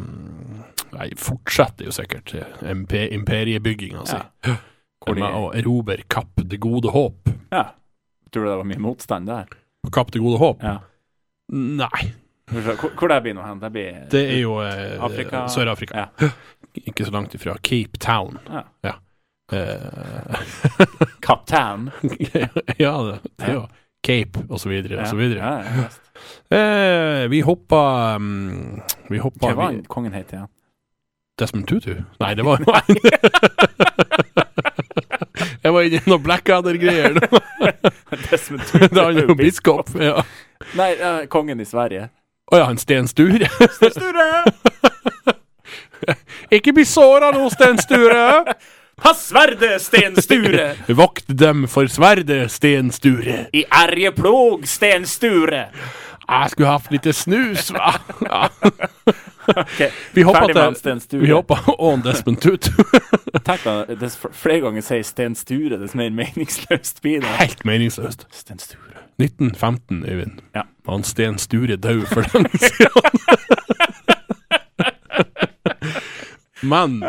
[SPEAKER 2] mm, Nei, fortsetter jo sikkert eh, impe- imperiebygginga si.
[SPEAKER 1] Hvor de-
[SPEAKER 2] Med å erobre Kapp det gode håp.
[SPEAKER 1] Ja. Tror du det var mye motstand der?
[SPEAKER 2] Kapp det gode håp?
[SPEAKER 1] Ja.
[SPEAKER 2] Nei,
[SPEAKER 1] Hvor, hvor det blir nå hen? Det blir
[SPEAKER 2] det er jo eh,
[SPEAKER 1] Afrika-
[SPEAKER 2] Sør-Afrika. Ikke så langt ifra Cape Town.
[SPEAKER 1] Ja.
[SPEAKER 2] Eh,
[SPEAKER 1] Kaptein.
[SPEAKER 2] <laughs> ja, det, det er jo Cape og så videre og så videre.
[SPEAKER 1] Ja, ja, visst.
[SPEAKER 2] Eh, vi hoppa mm, Vi hoppa
[SPEAKER 1] Hva var han kongen het <laughs> igjen?
[SPEAKER 2] Desmond Tutu? Nei,
[SPEAKER 1] <laughs>
[SPEAKER 2] det var <laughs> Jeg var inne i noen Blackadder-greier. <laughs> nå.
[SPEAKER 1] Desmond
[SPEAKER 2] Det er han jo biskop. Å ja.
[SPEAKER 1] <laughs> Nei, eh, kongen i Sverige.
[SPEAKER 2] Å ja, han Sten Sture. <laughs>
[SPEAKER 1] Sture!
[SPEAKER 2] Ikke bli såra nå, Sten Sture!
[SPEAKER 1] Pass sverdet, Sten Sture!
[SPEAKER 2] <laughs> Vokt dem for sverdet, Sten Sture.
[SPEAKER 1] I Arjeplog, Sten Sture!
[SPEAKER 2] Jeg skulle hatt lite snus, va? <laughs> Ja.
[SPEAKER 1] Ok,
[SPEAKER 2] Vi hoppa
[SPEAKER 1] ferdig med han,
[SPEAKER 2] til
[SPEAKER 1] Sten Sture.
[SPEAKER 2] Vi <laughs> hoppa on Desmond Tutu. <laughs>
[SPEAKER 1] Tenk deg, dess fl- flere ganger sier Sten Sture, dess mer meningsløst blir det.
[SPEAKER 2] Helt meningsløst.
[SPEAKER 1] Sten Sture.
[SPEAKER 2] 1915, Øyvind.
[SPEAKER 1] Ja.
[SPEAKER 2] Han Sten Sture død for lenge siden. Men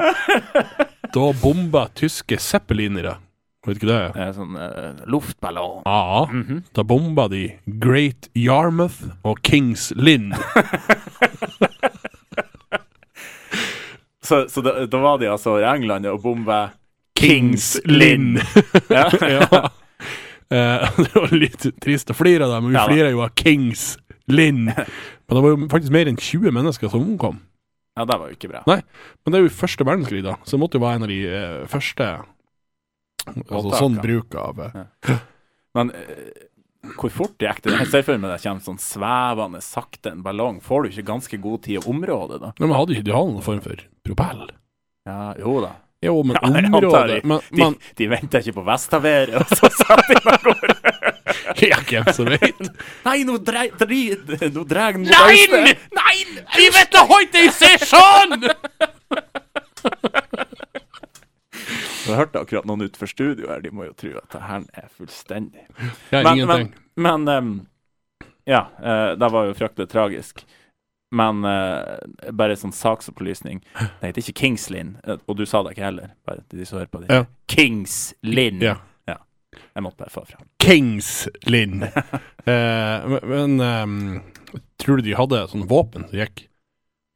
[SPEAKER 2] da bomba tyske zeppelinere Vet du hva det er?
[SPEAKER 1] Eh, Sånn eh, luftballong.
[SPEAKER 2] Ja, da bomba de Great Yarmouth og Kings Lynn.
[SPEAKER 1] Så, så da, da var de altså i England og bomba
[SPEAKER 2] Kings Lynn.
[SPEAKER 1] Ja.
[SPEAKER 2] <laughs> ja. <laughs> Eh, det var litt trist å flire av det, men vi
[SPEAKER 1] Ja da.
[SPEAKER 2] flirer jo av Kings Lynn. Men det var jo faktisk mer enn 20 mennesker som omkom.
[SPEAKER 1] ja, det var jo ikke bra.
[SPEAKER 2] Nei, men det er jo første verdenskrig, da, så det måtte jo være en av de eh, første Altså
[SPEAKER 1] Åtaker.
[SPEAKER 2] sånn bruk av eh,
[SPEAKER 1] Men eh, hvor fort de gikk det? Jeg ser for meg det kommer sånn svevende, sakte en ballong. Får du ikke ganske god tid i området, da?
[SPEAKER 2] Nei, Men hadde ikke de hatt noen form for propell?
[SPEAKER 1] Ja, jo da.
[SPEAKER 2] Jo, men
[SPEAKER 1] Ja, jeg antar
[SPEAKER 2] området
[SPEAKER 1] de-
[SPEAKER 2] Men,
[SPEAKER 1] De,
[SPEAKER 2] men
[SPEAKER 1] de venta ikke på vestaværet, og så satt de meg og
[SPEAKER 2] <laughs> ja, <laughs> hvem som vet?
[SPEAKER 1] Nei, nå dreier Nå dreier den mot Øystein!
[SPEAKER 2] Nein! Vi vet det heute i sesjon!
[SPEAKER 1] Jeg hørte akkurat noen utenfor studio her, de må jo tro at det her er fullstendig
[SPEAKER 2] Ja,
[SPEAKER 1] Men, men,
[SPEAKER 2] ingenting.
[SPEAKER 1] men ehm, Ja, eh, det var jo fryktelig tragisk. Men eh, bare sånn saksopplysning Det heter ikke Kings Lynn, eh, og du sa det ikke heller. Bare til de som hører på det.
[SPEAKER 2] Ja.
[SPEAKER 1] Kings Lynn!
[SPEAKER 2] Ja.
[SPEAKER 1] Jeg måtte bare få fram.
[SPEAKER 2] Kings <laughs> Lynn. Eh, men- men ehm, tror du de hadde sånn våpen som gikk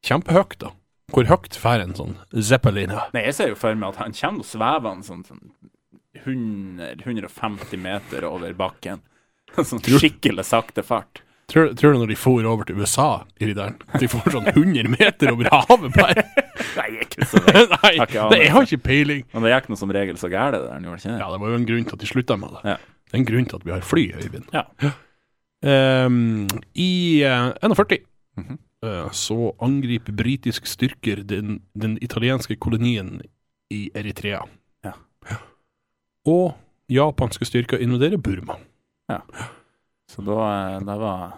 [SPEAKER 2] kjempehøyt, da? Hvor høyt får en sånn Zeppelin?
[SPEAKER 1] Nei, jeg ser jo for meg at han kommer og svever en sånn, sånn 100, 150 meter over bakken. <laughs> Sånn skikkelig sakte fart.
[SPEAKER 2] Tror, tror du når de for over til USA i ridderen, at de får sånn 100 meter over havet? Bare?
[SPEAKER 1] Nei, jeg er ikke så vei.
[SPEAKER 2] <laughs> Nei,
[SPEAKER 1] Takk, jeg aner
[SPEAKER 2] det, <laughs> jeg har ikke peiling.
[SPEAKER 1] Men det gikk nå som regel så gærent, det der. han Gjorde ikke det?
[SPEAKER 2] Ja, det var jo en grunn til at de slutta med det.
[SPEAKER 1] Ja.
[SPEAKER 2] Det er en grunn til at vi har fly, Øyvind.
[SPEAKER 1] Ja.
[SPEAKER 2] Ehm, I eh, 41
[SPEAKER 1] Mhm.
[SPEAKER 2] eh, så angriper britiske styrker den, den italienske kolonien i Eritrea.
[SPEAKER 1] Ja.
[SPEAKER 2] Og japanske styrker invaderer Burma. <laughs>
[SPEAKER 1] Så da, eh, da var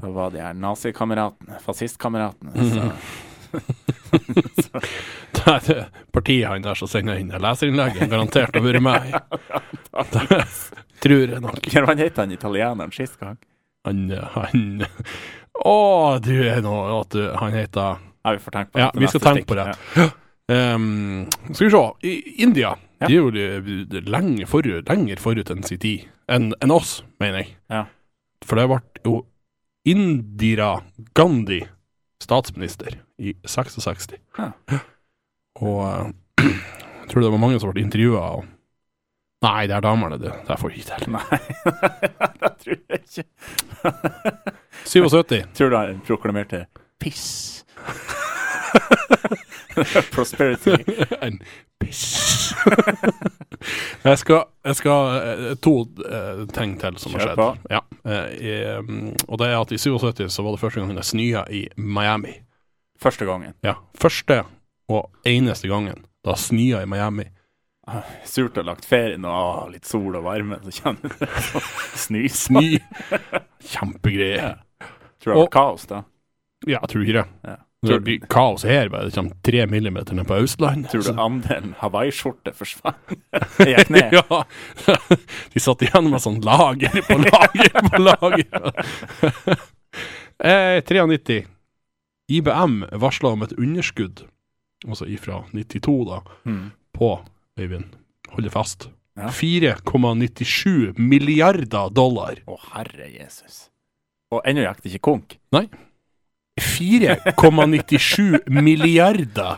[SPEAKER 1] Da var de her nazikameratene, <laughs> fascistkameratene
[SPEAKER 2] Mhm.
[SPEAKER 1] så-
[SPEAKER 2] Det er det partiet han der som sender inn det leserinnlegget, garantert har vært
[SPEAKER 1] <laughs>
[SPEAKER 2] med. Det tror jeg nok.
[SPEAKER 1] Hva han het han italieneren sist gang?
[SPEAKER 2] Han, han Å, du er nå at du, Han heter
[SPEAKER 1] Ja, vi får tenke på
[SPEAKER 2] Ja,
[SPEAKER 1] til
[SPEAKER 2] vi skal
[SPEAKER 1] neste
[SPEAKER 2] tenke på
[SPEAKER 1] stikk.
[SPEAKER 2] det. Ehm, skal vi se. I India
[SPEAKER 1] Ja.
[SPEAKER 2] de er jo de- de- lenge forut, lenger forut enn sin tid. Enn enn oss, mener jeg.
[SPEAKER 1] Ja.
[SPEAKER 2] For det ble jo Indira Gandhi statsminister i 66.
[SPEAKER 1] Ja.
[SPEAKER 2] Og eh, <clears throat> jeg tror det var mange som ble intervjua. Og... Nei, det er damene, det. Det får vi ikke til.
[SPEAKER 1] Nei, <laughs> det tror jeg ikke.
[SPEAKER 2] 77.
[SPEAKER 1] <laughs> Tror du han proklamerte <laughs> piss? Prosperity.
[SPEAKER 2] <laughs> en piss. jeg skal, jeg skal eh, To eh, ting til som har
[SPEAKER 1] Kjør
[SPEAKER 2] skjedd.
[SPEAKER 1] på.
[SPEAKER 2] Ja. eh, i, mm, og det er at i 77 så var det første gangen det snøa i Miami.
[SPEAKER 1] Første gangen.
[SPEAKER 2] Ja, Første og eneste gangen det snøa i Miami.
[SPEAKER 1] Surt å ha lagt ferien og ah, litt sol og varme, så kjenner du det som snys. <laughs>
[SPEAKER 2] Ny Kjempegreie.
[SPEAKER 1] Ja. Tror det var
[SPEAKER 2] Og-
[SPEAKER 1] kaos, da.
[SPEAKER 2] Ja, jeg tror ikke det.
[SPEAKER 1] Ja.
[SPEAKER 2] Det blir kaos her, bare det kommer tre millimeter ned på Østlandet.
[SPEAKER 1] Tror du andelen hawaiiskjorte forsvant? Det gikk ned.
[SPEAKER 2] <laughs> Ja, <laughs> de satt igjen med sånn lager på
[SPEAKER 1] <laughs>
[SPEAKER 2] lager <laughs> på lager. eh, 93. IBM varsla om et underskudd, altså ifra 92 da,
[SPEAKER 1] Mm.
[SPEAKER 2] på Øyvind, hold deg fast,
[SPEAKER 1] Ja.
[SPEAKER 2] 4,97 milliarder dollar.
[SPEAKER 1] Å, herre Jesus. Og ennå gikk det ikke konk.
[SPEAKER 2] Nei. 4,97 milliarder!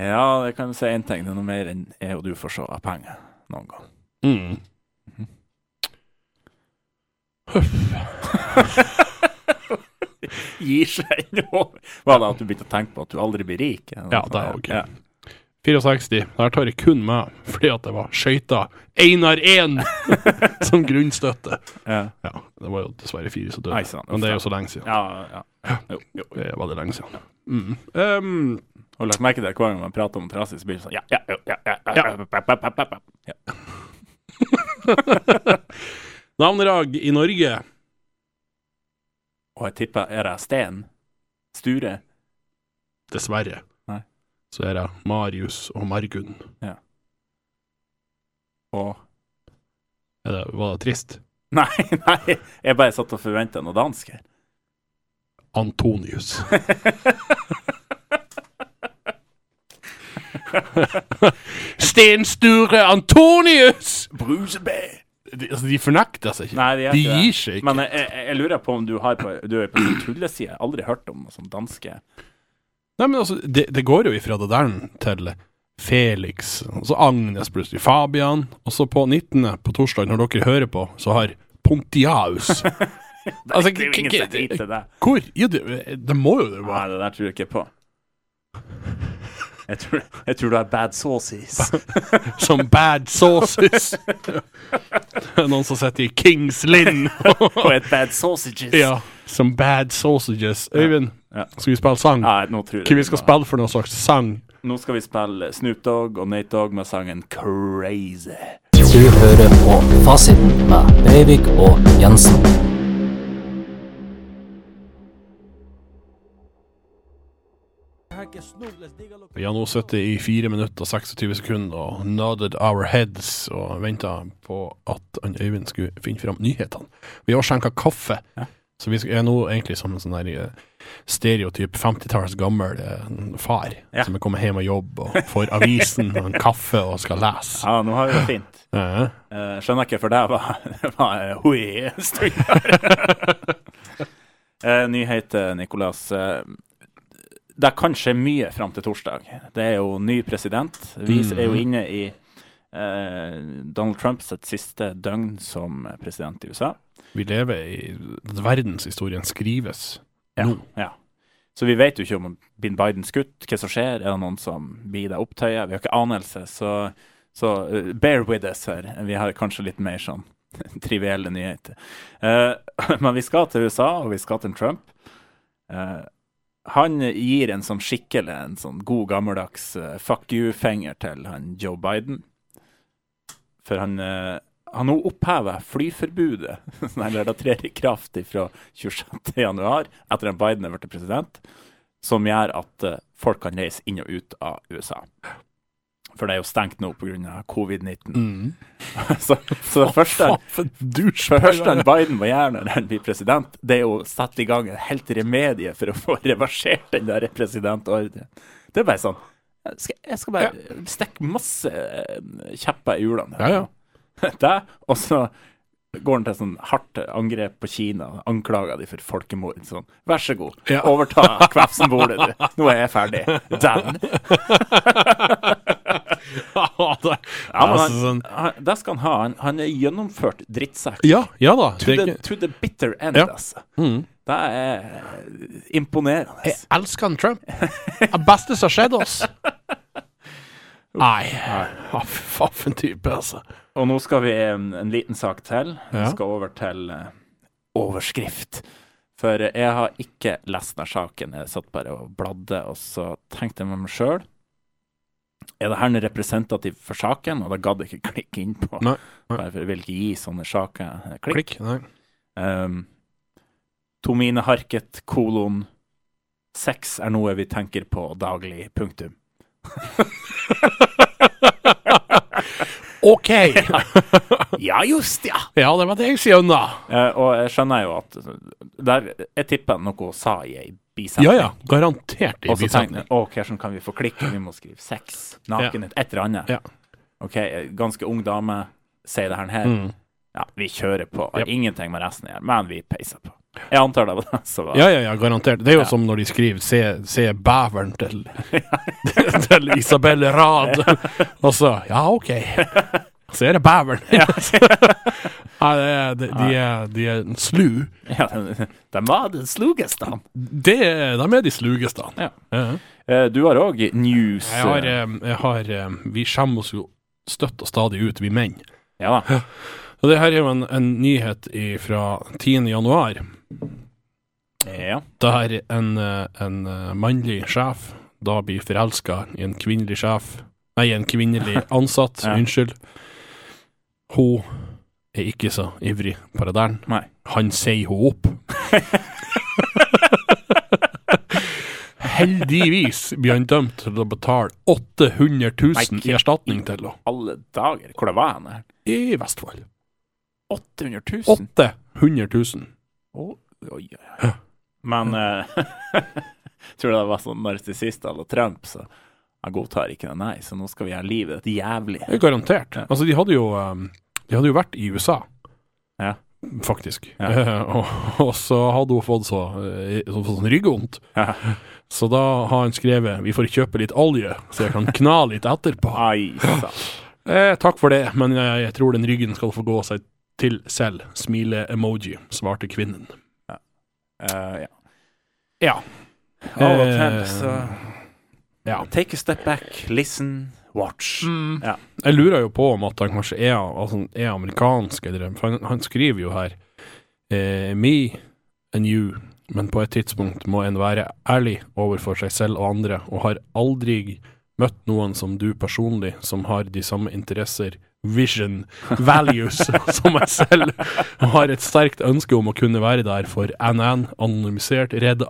[SPEAKER 1] Ja, det kan du si én ting. Det er noe mer enn jeg og du får se av penger noen gang.
[SPEAKER 2] Mm.
[SPEAKER 1] Gir seg ennå. Var det at du begynte å tenke på at du aldri blir rik?
[SPEAKER 2] Ja, det er ok. 64. Der tar jeg kun med fordi at det var skøyta Einar 1 som grunnstøtte.
[SPEAKER 1] Ja.
[SPEAKER 2] Ja, det var jo dessverre fire som døde.
[SPEAKER 1] Nei, sant.
[SPEAKER 2] Men det er jo så lenge siden.
[SPEAKER 1] Ja, ja. Jo, jo.
[SPEAKER 2] Det er veldig lenge siden. Mm. <laughs> Um,
[SPEAKER 1] Har du lagt merke til at hver gang man prater om trasig, så blir det sånn ja, ja, jo, ja, ja, ja,
[SPEAKER 2] Ja.
[SPEAKER 1] ja, ja, ja, ja, ja, ja.
[SPEAKER 2] navnedag i Norge
[SPEAKER 1] Og jeg tipper er det Sten? Sture?
[SPEAKER 2] Dessverre.
[SPEAKER 1] Nei.
[SPEAKER 2] Så er det Marius og Margunn.
[SPEAKER 1] Og
[SPEAKER 2] Er det, var det trist?
[SPEAKER 1] <laughs> Nei, nei, jeg bare satt og forventa noe dansk her.
[SPEAKER 2] <laughs> Antonius. Sten Sture Antonius!
[SPEAKER 1] Brusebæ!
[SPEAKER 2] De, altså, de fornekter seg ikke.
[SPEAKER 1] Nei, de, er
[SPEAKER 2] de
[SPEAKER 1] ikke det.
[SPEAKER 2] gir seg ikke.
[SPEAKER 1] Men jeg, jeg, jeg lurer på om du har på, du er på din tulleside. Aldri hørt om noe sånt danske
[SPEAKER 2] Nei, men altså, det, det går jo ifra det der til Felix, og så Agnes plutselig Fabian, og så på 19. på torsdag, når dere hører på, så har
[SPEAKER 1] <laughs>
[SPEAKER 2] Pontiaus Altså,
[SPEAKER 1] Det er jo ingen som driter i det.
[SPEAKER 2] Hvor? Ja, det, det må jo det
[SPEAKER 1] Nei,
[SPEAKER 2] være.
[SPEAKER 1] det der tror jeg ikke på. Jeg tror, jeg tror du er bad sauces.
[SPEAKER 2] Som bad sauces. Noen som sitter i Kings
[SPEAKER 1] <laughs>
[SPEAKER 2] Linn.
[SPEAKER 1] Og et bad sausages.
[SPEAKER 2] ja. Som bad sausages. Øyvind,
[SPEAKER 1] Ja.
[SPEAKER 2] skal vi spille sang?
[SPEAKER 1] Nei, nå tror jeg
[SPEAKER 2] Hva vi skal spille for noen slags sang?
[SPEAKER 1] Nå skal vi spille Snoop Dogg og Nate Dogg med sangen 'Crazy'.
[SPEAKER 4] Du hører på Fasiten med Breivik og Jensen.
[SPEAKER 2] Vi har nå sittet i 4 minutter og 26 sekunder og nodded our heads og venta på at han Øyvind skulle finne fram nyhetene. Vi har skjenka kaffe, så vi sk- er nå egentlig som en sånn der eh, stereotyp 50-talls gammel eh, far
[SPEAKER 1] Ja.
[SPEAKER 2] som er kommet hjem og jobb og får avisen og en kaffe og skal lese.
[SPEAKER 1] Ja, nå har vi det fint.
[SPEAKER 2] Eh,
[SPEAKER 1] Eh, skjønner ikke, for det var, <laughs> det var eh, hui en stund her. Eh, Nyheter, Nikolas. Eh, Det kan skje mye fram til torsdag. Det er jo ny president. Vi er jo inne i eh, Donald Trumps siste døgn som president i USA.
[SPEAKER 2] vi lever i Verdenshistorien skrives
[SPEAKER 1] Ja.
[SPEAKER 2] nå.
[SPEAKER 1] Ja. Så vi vet jo ikke om bin Biden skutt, hva som skjer, er det noen som blir det opptøyet? Vi har ikke anelse, så, så uh, bear with us her. Vi har kanskje litt mer sånn <laughs> trivielle nyheter. Eh, <laughs> men vi skal til USA, og vi skal til Trump. Eh, han gir en sånn skikkelig, en sånn god gammeldags eh, fuck you-finger til han Joe Biden. For han eh, han nå opphever flyforbudet, <laughs> som da trer i kraft fra 26. januar, etter at Biden er blitt president, som gjør at eh, folk kan reise inn og ut av USA. For det er jo stengt nå pga. covid-19. <laughs>
[SPEAKER 2] Mm.
[SPEAKER 1] Så, så det første,
[SPEAKER 2] Faen, for en douche.
[SPEAKER 1] det første han Biden må gjøre når han blir president, det er jo å sette i gang et helt remedie for å få reversert den der presidentordren. Det er bare sånn Jeg skal, jeg skal bare stikke masse eh, kjepper i hjulene. her
[SPEAKER 2] Ja, ja.
[SPEAKER 1] nå. <laughs> Det, og så går han til sånn hardt angrep på Kina, anklager de for folkemord. Sånn, vær så god,
[SPEAKER 2] Ja.
[SPEAKER 1] overta kvefsenbordet, du. Nå er jeg ferdig.
[SPEAKER 2] <laughs>
[SPEAKER 1] Den.
[SPEAKER 2] Ja, det,
[SPEAKER 1] Ja, men
[SPEAKER 2] altså,
[SPEAKER 1] han,
[SPEAKER 2] sånn.
[SPEAKER 1] han, det skal han ha. Han, han er gjennomført drittsekk.
[SPEAKER 2] ja, ja da.
[SPEAKER 1] To
[SPEAKER 2] Det er
[SPEAKER 1] the,
[SPEAKER 2] ikke,
[SPEAKER 1] to the bitter end,
[SPEAKER 2] Ja.
[SPEAKER 1] altså.
[SPEAKER 2] Mm. Eh.
[SPEAKER 1] Det er eh, imponerende.
[SPEAKER 2] jeg elsker han Trump. Det beste som har skjedd oss. <laughs> Nei. Ja, fy faen, for en type, altså.
[SPEAKER 1] Og nå skal vi en, en liten sak til. Vi
[SPEAKER 2] Ja.
[SPEAKER 1] skal over til eh, overskrift. For eh, jeg har ikke lest denne saken. Jeg satt bare og bladde, og så tenkte jeg med meg sjøl Er det her representativ for saken? Og det gadd jeg ikke klikke inn på.
[SPEAKER 2] Nei, nei.
[SPEAKER 1] Bare for jeg vil ikke gi sånne saker eh, klikk.
[SPEAKER 2] Klikk. Nei.
[SPEAKER 1] Um, Tomine Harket, kolon Sex er noe vi tenker på daglig, punktum.
[SPEAKER 2] OK!
[SPEAKER 1] Ja, just, ja!
[SPEAKER 2] Ja, det var det jeg skjønna.
[SPEAKER 1] Eh, og jeg skjønner jo at der, Jeg tipper noe hun sa i ei bisetning.
[SPEAKER 2] Ja ja, garantert i
[SPEAKER 1] Og så tenkte
[SPEAKER 2] bisetning.
[SPEAKER 1] jeg å, hvordan kan vi få klikk? Vi må skrive sex, nakenhet, et eller annet.
[SPEAKER 2] Ja.
[SPEAKER 1] OK, ganske ung dame, sier det her. her.
[SPEAKER 2] Mm.
[SPEAKER 1] Ja, vi kjører på. Har
[SPEAKER 2] Yep.
[SPEAKER 1] ingenting med resten å gjøre, men vi peiser på. Jeg antar det var det som var
[SPEAKER 2] Ja ja, ja, garantert. Det er jo som når de skriver 'Se, se bæveren til, <laughs> til Isabel Rad', og så Ja, OK. Så er det bæveren. <laughs> Ja. det er, de, de, er, de er slu.
[SPEAKER 1] <laughs> Ja, den, den var den slugeste, han.
[SPEAKER 2] Det, er- de er de slugeste.
[SPEAKER 1] Ja.
[SPEAKER 2] Ja.
[SPEAKER 1] Eh, Du har òg news.
[SPEAKER 2] Jeg har, eh, jeg har eh, Vi skjemmer oss jo støtt og stadig ut, vi menn.
[SPEAKER 1] Ja da.
[SPEAKER 2] Og det her er jo en, en nyhet fra 10. januar. <laughs>
[SPEAKER 1] Ja.
[SPEAKER 2] der en, eh, en eh, mannlig sjef da blir forelska i en kvinnelig sjef Nei, en kvinnelig <laughs> ansatt,
[SPEAKER 1] Ja.
[SPEAKER 2] unnskyld. Hun er ikke så ivrig på det der.
[SPEAKER 1] Nei.
[SPEAKER 2] Han sier hun opp. Heldigvis blir han dømt til å betale 800 000 i erstatning til henne
[SPEAKER 1] Alle dager. Hvor det var han her?
[SPEAKER 2] i Vestfold.
[SPEAKER 1] 800 000?
[SPEAKER 2] 800 000.
[SPEAKER 1] Å, Oi, oi, oi. Men eh, <laughs> tror det var sånn narsissist eller Trump, så jeg godtar ikke det, nei. Så nå skal vi gjøre livet ditt jævlig.
[SPEAKER 2] Det er garantert.
[SPEAKER 1] Ja.
[SPEAKER 2] Altså, de hadde jo um, De hadde jo vært i USA.
[SPEAKER 1] Ja.
[SPEAKER 2] Faktisk.
[SPEAKER 1] Ja.
[SPEAKER 2] Eh, <laughs> og, og så hadde hun fått så, eh, så fått sånn ryggvondt.
[SPEAKER 1] Ja.
[SPEAKER 2] Så da har han skrevet 'Vi får kjøpe litt olje, så jeg kan kna litt etterpå'.
[SPEAKER 1] Ai sann.
[SPEAKER 2] Eh, takk for det, men jeg, jeg tror den ryggen skal få gå seg til selv. Smile-emoji, svarte kvinnen.
[SPEAKER 1] Eh, ja.
[SPEAKER 2] Ja.
[SPEAKER 1] Av og til,
[SPEAKER 2] Eh,
[SPEAKER 1] så
[SPEAKER 2] ja.
[SPEAKER 1] Take a step back, listen, watch. Ja.
[SPEAKER 2] Jeg lurer jo på om at han kanskje er, altså, er amerikansk, eller For han, han skriver jo her eh, Me and you, men på et tidspunkt må en være ærlig overfor seg selv og andre, og har aldri møtt noen som du personlig, som har de samme interesser, vision, values, som meg selv, og har et sterkt ønske om å kunne være der for NN, anonymisert, redd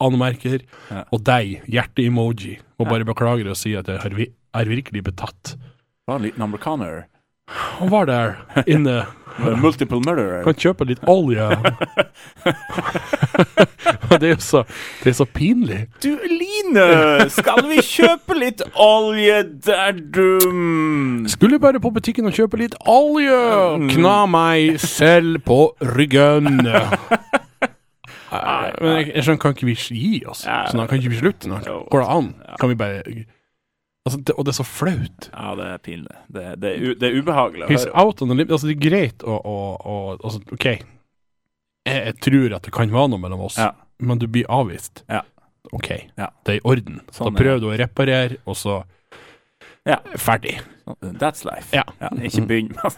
[SPEAKER 2] anmerker,
[SPEAKER 1] Ja.
[SPEAKER 2] og deg, hjerte-emoji, og bare beklager å si at jeg har vi- er virkelig betatt.
[SPEAKER 1] Var en liten amerikaner.
[SPEAKER 2] Han var der inne.
[SPEAKER 1] Multiple murderer.
[SPEAKER 2] Kan kjøpe litt olje. <laughs> Og det er jo så, det er så pinlig.
[SPEAKER 1] Du, Line, skal vi kjøpe litt olje der, du?
[SPEAKER 2] Skulle bare på butikken og kjøpe litt olje. Kna meg selv på ryggen. Nei, Men jeg, jeg skjønner, kan ikke vi gi oss? Sånn, kan ikke vi slutte nå? Går det an? Kan vi bare altså, det, Og det er så flaut.
[SPEAKER 1] Ja, det er pinlig. Det, det, er, u, det er ubehagelig å
[SPEAKER 2] He's
[SPEAKER 1] høre.
[SPEAKER 2] out on the limb. Altså, det er greit å, å, å altså, OK, jeg, jeg tror at det kan være noe mellom oss,
[SPEAKER 1] Ja.
[SPEAKER 2] men du blir avvist.
[SPEAKER 1] Ja.
[SPEAKER 2] OK,
[SPEAKER 1] Ja.
[SPEAKER 2] det er i orden.
[SPEAKER 1] Sånn er
[SPEAKER 2] da prøver du å reparere, og så
[SPEAKER 1] Ja.
[SPEAKER 2] Ferdig.
[SPEAKER 1] That's life.
[SPEAKER 2] Ja.
[SPEAKER 1] ikke begynn med
[SPEAKER 2] <laughs>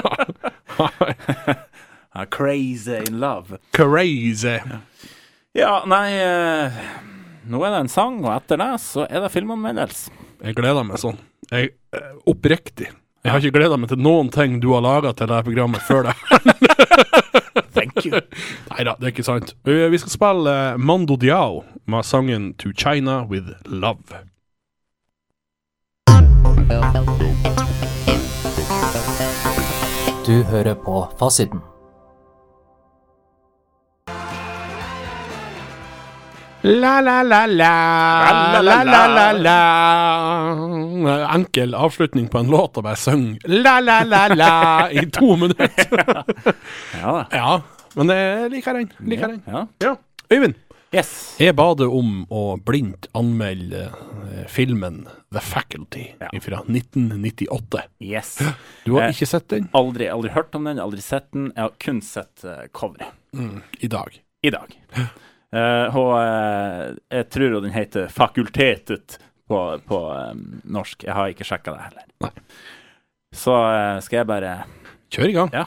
[SPEAKER 1] sånn. <laughs> Ah, Crazy in love.
[SPEAKER 2] Crazy.
[SPEAKER 1] Ja, nei eh, Nå er det en sang, og etter det så er det filmanmeldelse.
[SPEAKER 2] Jeg gleder meg sånn. Jeg, eh, oppriktig. Jeg har ikke gleda meg til noen ting du har laga til dette programmet
[SPEAKER 1] <laughs>
[SPEAKER 2] før det.
[SPEAKER 1] Thank you.
[SPEAKER 2] Nei da, det er ikke sant. Vi vi skal eh, spille eh, Mando Diao med sangen 'To China With Love'.
[SPEAKER 4] Du hører på Fasiten.
[SPEAKER 2] La, la, la, la. La, la, la, la. Enkel avslutning på en låt og bare syng la, la, la, la <laughs> i to minutter.
[SPEAKER 1] Ja da.
[SPEAKER 2] Ja, men jeg liker den. Liker den.
[SPEAKER 1] Ja.
[SPEAKER 2] Ja. Øyvind,
[SPEAKER 1] Yes.
[SPEAKER 2] jeg ba deg om å blindt anmelde eh, filmen The Faculty
[SPEAKER 1] Ja.
[SPEAKER 2] fra 1998.
[SPEAKER 1] Yes.
[SPEAKER 2] Du har
[SPEAKER 1] Eh.
[SPEAKER 2] ikke sett den
[SPEAKER 1] Aldri, aldri hørt om den, aldri sett den. Jeg har kun sett eh, coveret
[SPEAKER 2] i dag.
[SPEAKER 1] i dag. Eh, og eh, jeg tror jo den heter Fakultetet på, på eh, norsk. Jeg har ikke sjekka det heller.
[SPEAKER 2] Nei.
[SPEAKER 1] Så eh, skal jeg bare
[SPEAKER 2] Kjør i gang.
[SPEAKER 1] Ja.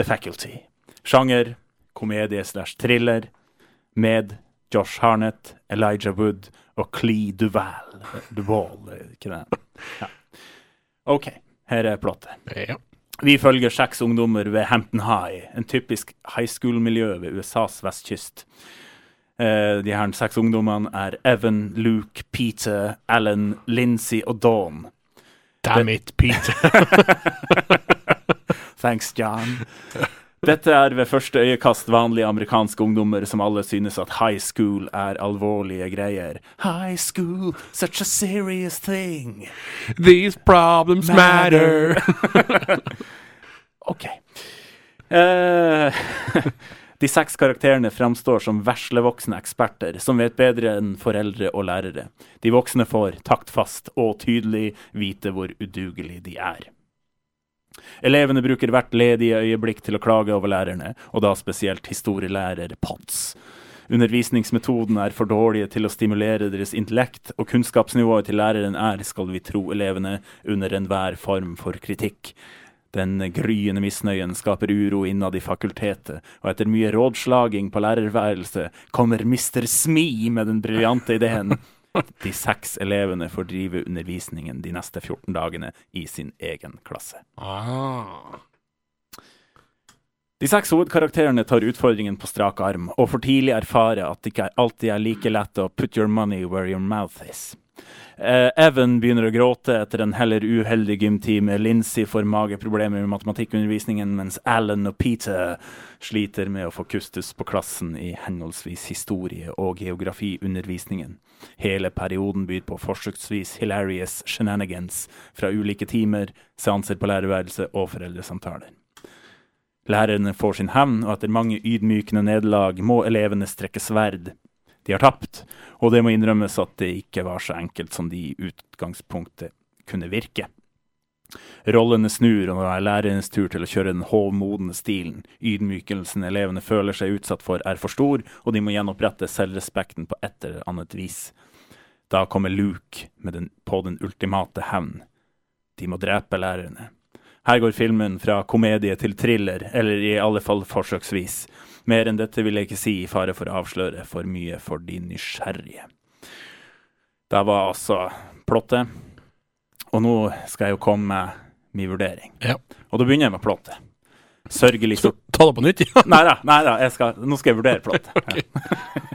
[SPEAKER 1] The Faculty. Sjanger komedie slash thriller med Josh Harnett, Elijah Wood og Clee Duval. Duval, er det ikke det? Ja. OK, her er plottet.
[SPEAKER 2] Ja.
[SPEAKER 1] Vi følger seks ungdommer ved Hampton High, en typisk high school-miljø ved USAs vestkyst. Eh, de her seks ungdommene er Evan, Luke, Peter, Alan, Lindsay og Dawn.
[SPEAKER 2] Damn it, Pete.
[SPEAKER 1] Thanks, John. Dette er ved første øyekast vanlige amerikanske ungdommer som alle synes at high school er alvorlige greier. High school, such a serious thing.
[SPEAKER 2] <laughs> These problems matter.
[SPEAKER 1] Matter. OK. Eh, <laughs> de seks karakterene framstår som veslevoksne eksperter som vet bedre enn foreldre og lærere. De voksne får taktfast og tydelig vite hvor udugelige de er. Elevene bruker hvert ledige øyeblikk til å klage over lærerne, og da spesielt historielærer Potts. Undervisningsmetodene er for dårlige til å stimulere deres intellekt, og kunnskapsnivået til læreren er, skal vi tro elevene, under enhver form for kritikk. Den gryende misnøyen skaper uro innad i fakultetet, og etter mye rådslaging på lærerværelset kommer Mr. Smi med den briljante ideen. De seks elevene får drive undervisningen de neste 14 dagene i sin egen klasse.
[SPEAKER 2] <laughs> Ah.
[SPEAKER 1] De seks hovedkarakterene tar utfordringen på strak arm, og for tidlig erfarer at det ikke alltid er like lett å put your money where your mouth is. Eh, Evan begynner å gråte etter en heller uheldig gymtime. Lindsay får mageproblemer med matematikkundervisningen, mens Alan og Peter sliter med å få kustus på klassen i henholdsvis historie- og geografiundervisningen. Hele perioden byr på forsøksvis hilarious shenanigans fra ulike timer, seanser på lærerværelset og foreldresamtaler. Lærerne får sin hevn, og etter mange ydmykende nederlag må elevene strekke sverd. De har tapt, og det må innrømmes at det ikke var så enkelt som de i utgangspunktet kunne virke. Rollene snur, og nå er lærerens tur til å kjøre den hovmodne stilen. Ydmykelsen elevene føler seg utsatt for, er for stor, og de må gjenopprette selvrespekten på et eller annet vis. Da kommer Luke med den, på den ultimate hevn. De må drepe lærerne. Her går filmen fra komedie til thriller, eller i alle fall forsøksvis. Mer enn dette vil jeg ikke si i fare for å avsløre for mye for de nysgjerrige. Det var altså plottet. Og nå skal jeg jo komme med min vurdering.
[SPEAKER 2] Ja.
[SPEAKER 1] Og da begynner jeg med plottet. Sørgelig
[SPEAKER 2] Så ta det på nytt, <laughs> ja.
[SPEAKER 1] <laughs> Nei da, nei da, jeg skal, nå skal jeg vurdere plott.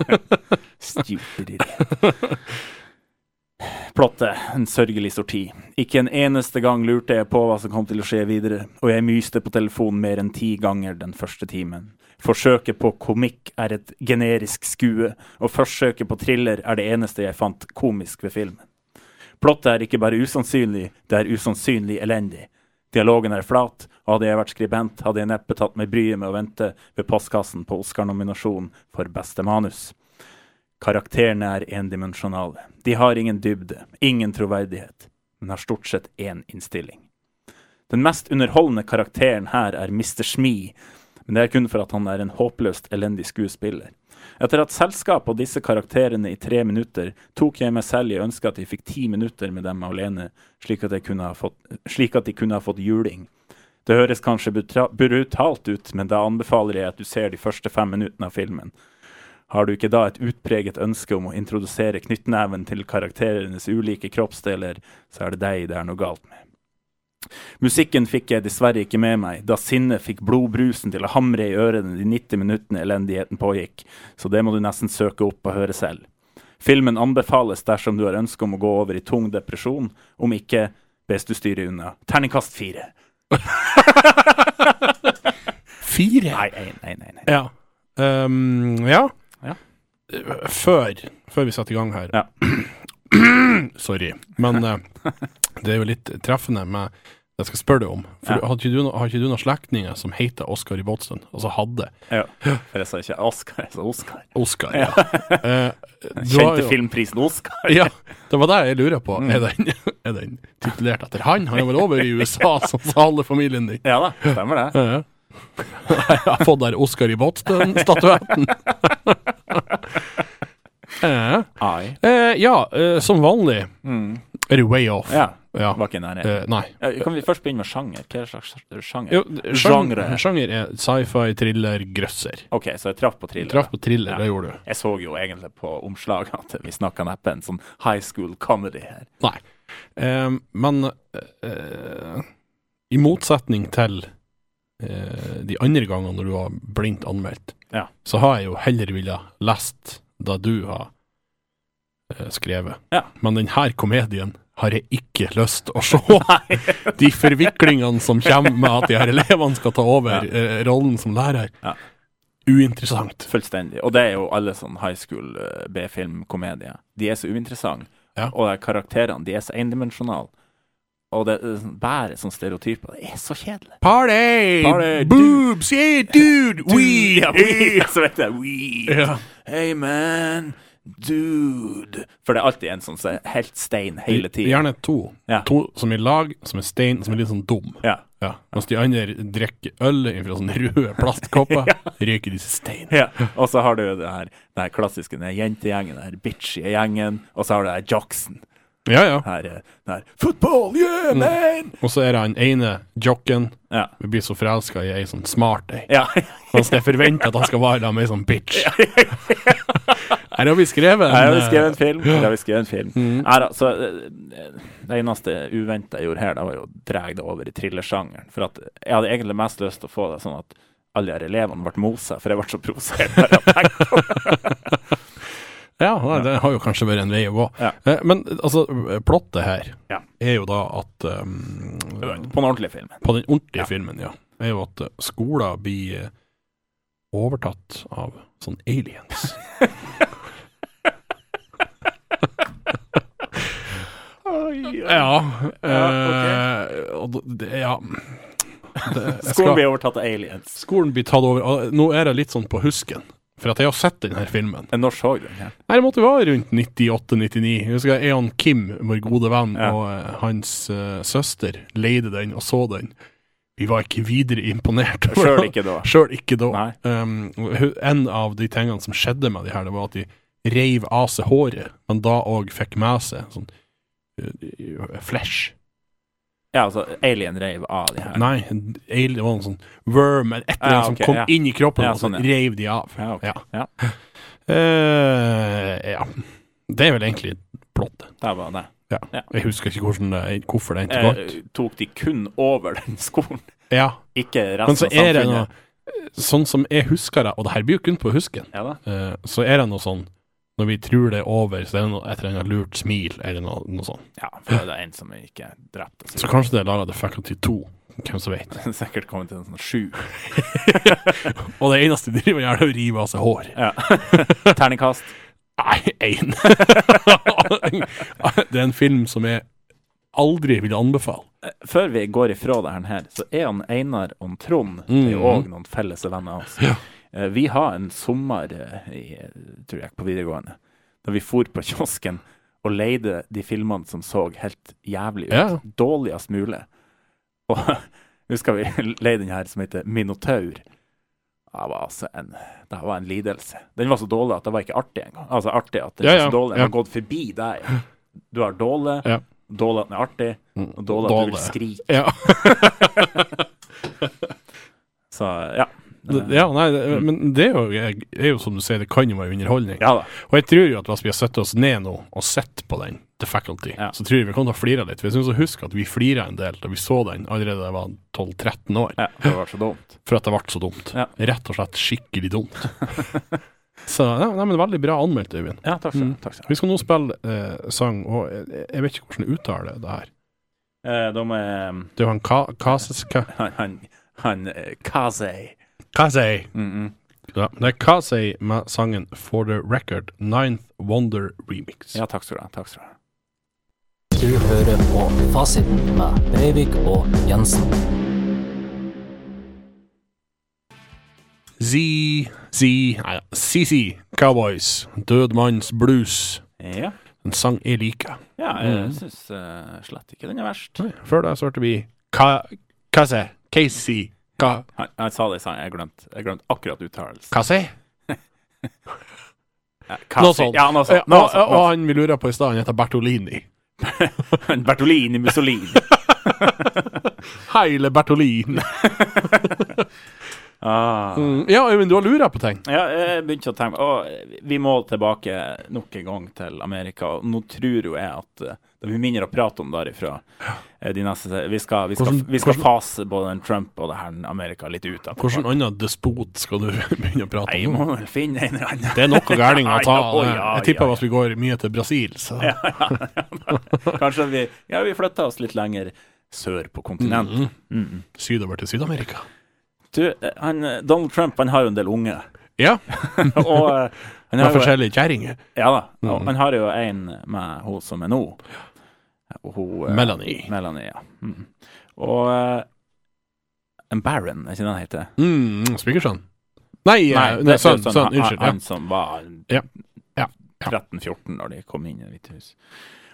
[SPEAKER 1] <laughs> Stupid idiot. Plottet, en sørgelig sorti. Ikke en eneste gang lurte jeg på hva som kom til å skje videre, og jeg myste på telefonen mer enn ti ganger den første timen. Forsøket på komikk er et generisk skue, og forsøket på thriller er det eneste jeg fant komisk ved filmen. Plottet er ikke bare usannsynlig, det er usannsynlig elendig. Dialogen er flat, og hadde jeg vært skribent, hadde jeg neppe tatt meg bryet med å vente ved postkassen på Oscar-nominasjon for beste manus. Karakterene er endimensjonale. De har ingen dybde, ingen troverdighet, men har stort sett én innstilling. Den mest underholdende karakteren her er Mr. Smee, men det er kun for at han er en håpløst elendig skuespiller. Etter at selskapet og disse karakterene i tre minutter, tok jeg meg selv i ønsket at jeg fikk ti minutter med dem alene, slik at, jeg kunne ha fått, slik at de kunne ha fått juling. Det høres kanskje brutra- brutalt ut, men da anbefaler jeg at du ser de første fem minuttene av filmen. Har du ikke da et utpreget ønske om å introdusere knyttneven til karakterenes ulike kroppsdeler, så er det deg det er noe galt med. Musikken fikk jeg dessverre ikke med meg, da sinnet fikk blodbrusen til å hamre i ørene de 90 minuttene elendigheten pågikk, så det må du nesten søke opp og høre selv. Filmen anbefales dersom du har ønske om å gå over i tung depresjon, om ikke hvis du styrer unna. Terningkast fire.
[SPEAKER 2] Fire?
[SPEAKER 1] Nei, nei, nei. nei, nei.
[SPEAKER 2] Ja. Ehm, ja.
[SPEAKER 1] Ja.
[SPEAKER 2] Eh, Før, før vi satte i gang her
[SPEAKER 1] Ja.
[SPEAKER 2] <clears throat> Sorry. Men eh, det er jo litt treffende med det jeg skal spørre deg om. For
[SPEAKER 1] Ja.
[SPEAKER 2] har, ikke du, no- har ikke du noen slektninger som heter Oskar i Båtsund? Altså hadde
[SPEAKER 1] Ja. For jeg sa ikke Oscar, jeg sa Oscar.
[SPEAKER 2] Oskar?
[SPEAKER 1] Ja.
[SPEAKER 2] Eh, du har
[SPEAKER 1] Kjente Mm.
[SPEAKER 2] jo-
[SPEAKER 1] filmprisen Oscar.
[SPEAKER 2] Ja, det var det jeg lurer på. Er, den, er den titulert etter han? Han er vel over i USA, <laughs> som sa alle familien din.
[SPEAKER 1] Ja da, stemmer det.
[SPEAKER 2] Ja, ja. Jeg har fått der Oscar i
[SPEAKER 1] <laughs>
[SPEAKER 2] Båtsund-statuetten. Ja,
[SPEAKER 1] Ai.
[SPEAKER 2] Eh, ja eh, som vanlig er det way off.
[SPEAKER 1] Mm. Ja.
[SPEAKER 2] Ja.
[SPEAKER 1] Var ikke nær.
[SPEAKER 2] Eh, nei.
[SPEAKER 1] Ja, kan vi først begynne med sjanger? Hva er slags sjanger?
[SPEAKER 2] Jo,
[SPEAKER 1] Genre.
[SPEAKER 2] sjanger, sjanger er sci-fi, thriller, grøsser.
[SPEAKER 1] OK, så jeg traff på thriller.
[SPEAKER 2] Traff på thriller,
[SPEAKER 1] Ja.
[SPEAKER 2] det gjorde du.
[SPEAKER 1] Jeg så jo egentlig på omslaget at vi snakka neppe en sånn high school comedy her.
[SPEAKER 2] Nei. Eh, men eh, i motsetning til eh, de andre gangene når du har blindt anmeldt,
[SPEAKER 1] Ja.
[SPEAKER 2] så har jeg jo heller villet lest det du har eh, skrevet.
[SPEAKER 1] Ja.
[SPEAKER 2] Men denne komedien har jeg ikke lyst å
[SPEAKER 1] <laughs>
[SPEAKER 2] se. <laughs> de forviklingene som kommer med at de her elevene skal ta over eh, rollen som lærer.
[SPEAKER 1] Ja.
[SPEAKER 2] Uinteressant.
[SPEAKER 1] Fullstendig. Og det er jo alle sånn high school eh, B-film-komedier. De er så uinteressante.
[SPEAKER 2] Ja.
[SPEAKER 1] Og de karakterene, de er så endimensjonale. Og det eh, sånn- bærer sånne stereotyper. Det er så kjedelig.
[SPEAKER 2] Party!
[SPEAKER 1] Party,
[SPEAKER 2] Boobs! Yeah,
[SPEAKER 1] <laughs>
[SPEAKER 2] dude! We!
[SPEAKER 1] ja, we, <laughs> så vet jeg, we.
[SPEAKER 2] Ja.
[SPEAKER 1] Hey man, dude. For det er alltid en sånn som er helt stein hele tiden.
[SPEAKER 2] Gjerne to.
[SPEAKER 1] Ja.
[SPEAKER 2] To som er lag, som er stein, som er litt sånn dum.
[SPEAKER 1] Ja.
[SPEAKER 2] Ja. Mens de andre drikker øl fra sånne
[SPEAKER 1] <laughs>
[SPEAKER 2] røde plastkopper, røyker de stein.
[SPEAKER 1] Ja. Og så har du jo det her, det her klassiske den her jentegjengen, den her bitchy gjengen, og så har du det her jocksen.
[SPEAKER 2] Ja, ja.
[SPEAKER 1] Her, eh, den her Football, yeah, man!
[SPEAKER 2] Og så er det han ene jocken.
[SPEAKER 1] Ja.
[SPEAKER 2] Vi blir så forelska i ei sånn smart ei.
[SPEAKER 1] Ja.
[SPEAKER 2] Mens jeg forventer at han skal være der med ei sånn bitch. Her har vi skrevet en,
[SPEAKER 1] <laughs>
[SPEAKER 2] mm.
[SPEAKER 1] Her har vi
[SPEAKER 2] eh,
[SPEAKER 1] skrevet en film. Her har vi skrevet en film. Nei da, så eh, det eneste uventa jeg gjorde her, det var jo å dra det over i thrillersjangeren. For at jeg hadde egentlig mest lyst til å få det sånn at alle her elevene ble mosa, for jeg ble så provosert. bare av det.
[SPEAKER 2] Ja, nei, det har jo kanskje vært en vei å gå.
[SPEAKER 1] Ja.
[SPEAKER 2] Eh, Men altså, plottet her
[SPEAKER 1] Ja.
[SPEAKER 2] er jo da at um,
[SPEAKER 1] På den ordentlige filmen.
[SPEAKER 2] På den ordentlige filmen, ja. Er jo at eh, skolen blir eh, overtatt av sånn aliens. <laughs> ja.
[SPEAKER 1] Ja,
[SPEAKER 2] eh, og d- det, ja. Det, jeg
[SPEAKER 1] Skolen
[SPEAKER 2] skal-
[SPEAKER 1] blir overtatt av aliens.
[SPEAKER 2] skolen blir tatt over. og Nå er det litt sånn på husken. For at jeg har sett denne filmen.
[SPEAKER 1] Eh, Når så du den? her?
[SPEAKER 2] Nei, det måtte være rundt 98-99. Jeg husker jeg Eon Kim, vår gode venn,
[SPEAKER 1] Ja.
[SPEAKER 2] og eh, hans eh, søster leide den og så den. Vi var ikke videre imponert.
[SPEAKER 1] Sjøl ikke da.
[SPEAKER 2] Sjøl ikke da.
[SPEAKER 1] Nei.
[SPEAKER 2] Um, hu- en av de tingene som skjedde med de her, det var at de reiv av seg håret, men da òg fikk med seg sånn eh, flesh.
[SPEAKER 1] Ja, altså, alien reiv av de her.
[SPEAKER 2] Nei, ale- det var en sånn worm eller et eller annet
[SPEAKER 1] Ja, ok,
[SPEAKER 2] som kom
[SPEAKER 1] ja.
[SPEAKER 2] inn i kroppen,
[SPEAKER 1] Ja,
[SPEAKER 2] og så
[SPEAKER 1] sånn, ja.
[SPEAKER 2] reiv de av.
[SPEAKER 1] Ja, ok.
[SPEAKER 2] Ja.
[SPEAKER 1] Ja.
[SPEAKER 2] Eh, ja. Det er vel egentlig plottet.
[SPEAKER 1] Det var det.
[SPEAKER 2] Ja.
[SPEAKER 1] Ja.
[SPEAKER 2] Jeg husker ikke hvordan det, hvorfor det endte godt.
[SPEAKER 1] Eh, tok de kun over den skolen,
[SPEAKER 2] Ja.
[SPEAKER 1] ikke resten
[SPEAKER 2] Men
[SPEAKER 1] av
[SPEAKER 2] så er det noe
[SPEAKER 1] samfunnet?
[SPEAKER 2] Sånn som jeg husker det, og det her blir jo kun på husken,
[SPEAKER 1] Ja da.
[SPEAKER 2] eh, så er det noe sånn Når vi tror det er over, så er det noe, et eller annet lurt smil, eller noe, noe sånt.
[SPEAKER 1] Ja, for det er en som ikke er drept. og
[SPEAKER 2] Så
[SPEAKER 1] Så
[SPEAKER 2] kanskje det er laga til Faculty 2. Hvem som vet.
[SPEAKER 1] <laughs> sikkert kommet til en sånn sju.
[SPEAKER 2] Og det eneste de driver med, er å rive av seg hår.
[SPEAKER 1] Ja. Terningkast.
[SPEAKER 2] Nei, én! <laughs> det er en film som jeg aldri ville anbefale.
[SPEAKER 1] Før vi går ifra det her, så er han Einar og han Trond Det er jo
[SPEAKER 2] Mhm.
[SPEAKER 1] òg noen felles venner av oss.
[SPEAKER 2] Ja.
[SPEAKER 1] Eh, Vi har en sommer eh, i, eh, tror jeg, på videregående, da vi for på kiosken og leide de filmene som så helt jævlig ut.
[SPEAKER 2] Ja.
[SPEAKER 1] Dårligst mulig. Og <laughs> husker vi <laughs> leide den her som heter Minotaur. Det var altså en, det var en lidelse. Den var så dårlig at det var ikke artig engang. Altså artig at den
[SPEAKER 2] Ja,
[SPEAKER 1] var
[SPEAKER 2] ja,
[SPEAKER 1] så dårlig. Den
[SPEAKER 2] ja.
[SPEAKER 1] har gått forbi deg.
[SPEAKER 2] <laughs>
[SPEAKER 1] Du har dårlig,
[SPEAKER 2] Ja.
[SPEAKER 1] dårlig at den er artig, Mm. og dårlig at du vil
[SPEAKER 2] Dårlig.
[SPEAKER 1] skrike.
[SPEAKER 2] Ja.
[SPEAKER 1] Så ja. Eh,
[SPEAKER 2] ja nei, det, men det er jo, er jo som du sier, det kan jo være underholdning.
[SPEAKER 1] Ja da.
[SPEAKER 2] Og jeg tror jo at hvis vi har satt oss ned nå og sett på den, The Faculty,
[SPEAKER 1] Ja.
[SPEAKER 2] så tror jeg vi kommer til å flire litt. For jeg synes å huske at vi flira en del da vi så den allerede da jeg var 12-13 år,
[SPEAKER 1] Ja, det var så dumt.
[SPEAKER 2] for at det ble så dumt.
[SPEAKER 1] Ja.
[SPEAKER 2] Rett og slett skikkelig dumt. <laughs> så nei, nei, men veldig bra anmeldt, Øyvind.
[SPEAKER 1] Mm. Ja, takk skal du ha. takk skal du ha.
[SPEAKER 2] Vi skal nå spille eh, sang, og jeg, jeg vet ikke hvordan jeg uttaler det her.
[SPEAKER 1] Eh, de er
[SPEAKER 2] Det er jo han Ka Kases... Ka
[SPEAKER 1] Han, han, han eh, Kazei.
[SPEAKER 2] Kasey.
[SPEAKER 1] Mm
[SPEAKER 2] Ja, det er Kasey med sangen For The Record, Ninth Wonder Remix.
[SPEAKER 1] Ja, takk skal du ha. Takk skal du ha.
[SPEAKER 4] Du hører på Fasiten med Breivik og Jensen.
[SPEAKER 2] Z, Z, nei da, CC Cowboys, Død manns blues.
[SPEAKER 1] Ja,
[SPEAKER 2] En sang jeg liker.
[SPEAKER 1] ja jeg syns slett ikke den er verst.
[SPEAKER 2] Før det så hørte vi Ka Kasey, Casey, Ka
[SPEAKER 1] Han, han sa det i sangen, jeg glemte jeg glemte akkurat uttalelsen.
[SPEAKER 2] Kasey?
[SPEAKER 1] Ja,
[SPEAKER 2] Noe sånt.
[SPEAKER 1] Ja, noe
[SPEAKER 2] Ja,
[SPEAKER 1] sånt. Noe
[SPEAKER 2] og,
[SPEAKER 1] sånt,
[SPEAKER 2] og
[SPEAKER 1] noe
[SPEAKER 2] han vi lurer på i stad, han heter Bertolini.
[SPEAKER 1] sånt. Bertolini Mussolini.
[SPEAKER 2] Heile Bertolini.
[SPEAKER 1] <laughs> Ah.
[SPEAKER 2] Mm, ja, men du har lura på ting.
[SPEAKER 1] Ja, jeg begynte å tenke å, Vi må tilbake nok en gang til Amerika. Og nå tror jo jeg at eh, det blir mindre å prate om derifra. eh, De neste, vi, skal, vi, skal,
[SPEAKER 2] Hvordan-
[SPEAKER 1] vi skal
[SPEAKER 2] hvordan-
[SPEAKER 1] fase både den Trump og det her Amerika litt ut. etterpå.
[SPEAKER 2] Hvilken annen despot skal du <laughs> begynne å prate
[SPEAKER 1] Nei,
[SPEAKER 2] om?
[SPEAKER 1] må vel finne en eller annen.
[SPEAKER 2] Det er noe
[SPEAKER 1] <laughs>
[SPEAKER 2] gærninger å ta.
[SPEAKER 1] Ja, å, ja,
[SPEAKER 2] Jeg tipper
[SPEAKER 1] ja, ja.
[SPEAKER 2] at vi går mye til Brasil. Så.
[SPEAKER 1] Kanskje vi, ja, vi flytter oss litt lenger sør på kontinentet.
[SPEAKER 2] Mm. Sydover til Syd-Amerika.
[SPEAKER 1] Du, eh, han, eh, Donald Trump han har jo en del unge.
[SPEAKER 2] <laughs> Ja,
[SPEAKER 1] Og eh, han
[SPEAKER 2] med
[SPEAKER 1] har jo,
[SPEAKER 2] forskjellige kjerringer.
[SPEAKER 1] ja da, og
[SPEAKER 2] Mm.
[SPEAKER 1] han har jo en med hun som er nå. Og hun, eh,
[SPEAKER 2] Melanie.
[SPEAKER 1] Melanie, ja. Mm. Og eh, en baron, er ikke det han heter?
[SPEAKER 2] Mm, Spikersønn. Nei, eh, nei,
[SPEAKER 1] det er
[SPEAKER 2] sønn.
[SPEAKER 1] sånn
[SPEAKER 2] Sønn,
[SPEAKER 1] han-
[SPEAKER 2] unnskyld. Ja.
[SPEAKER 1] Han som var
[SPEAKER 2] Ja. Ja. Ja.
[SPEAKER 1] 13-14 når de kom inn i Det hvite hus.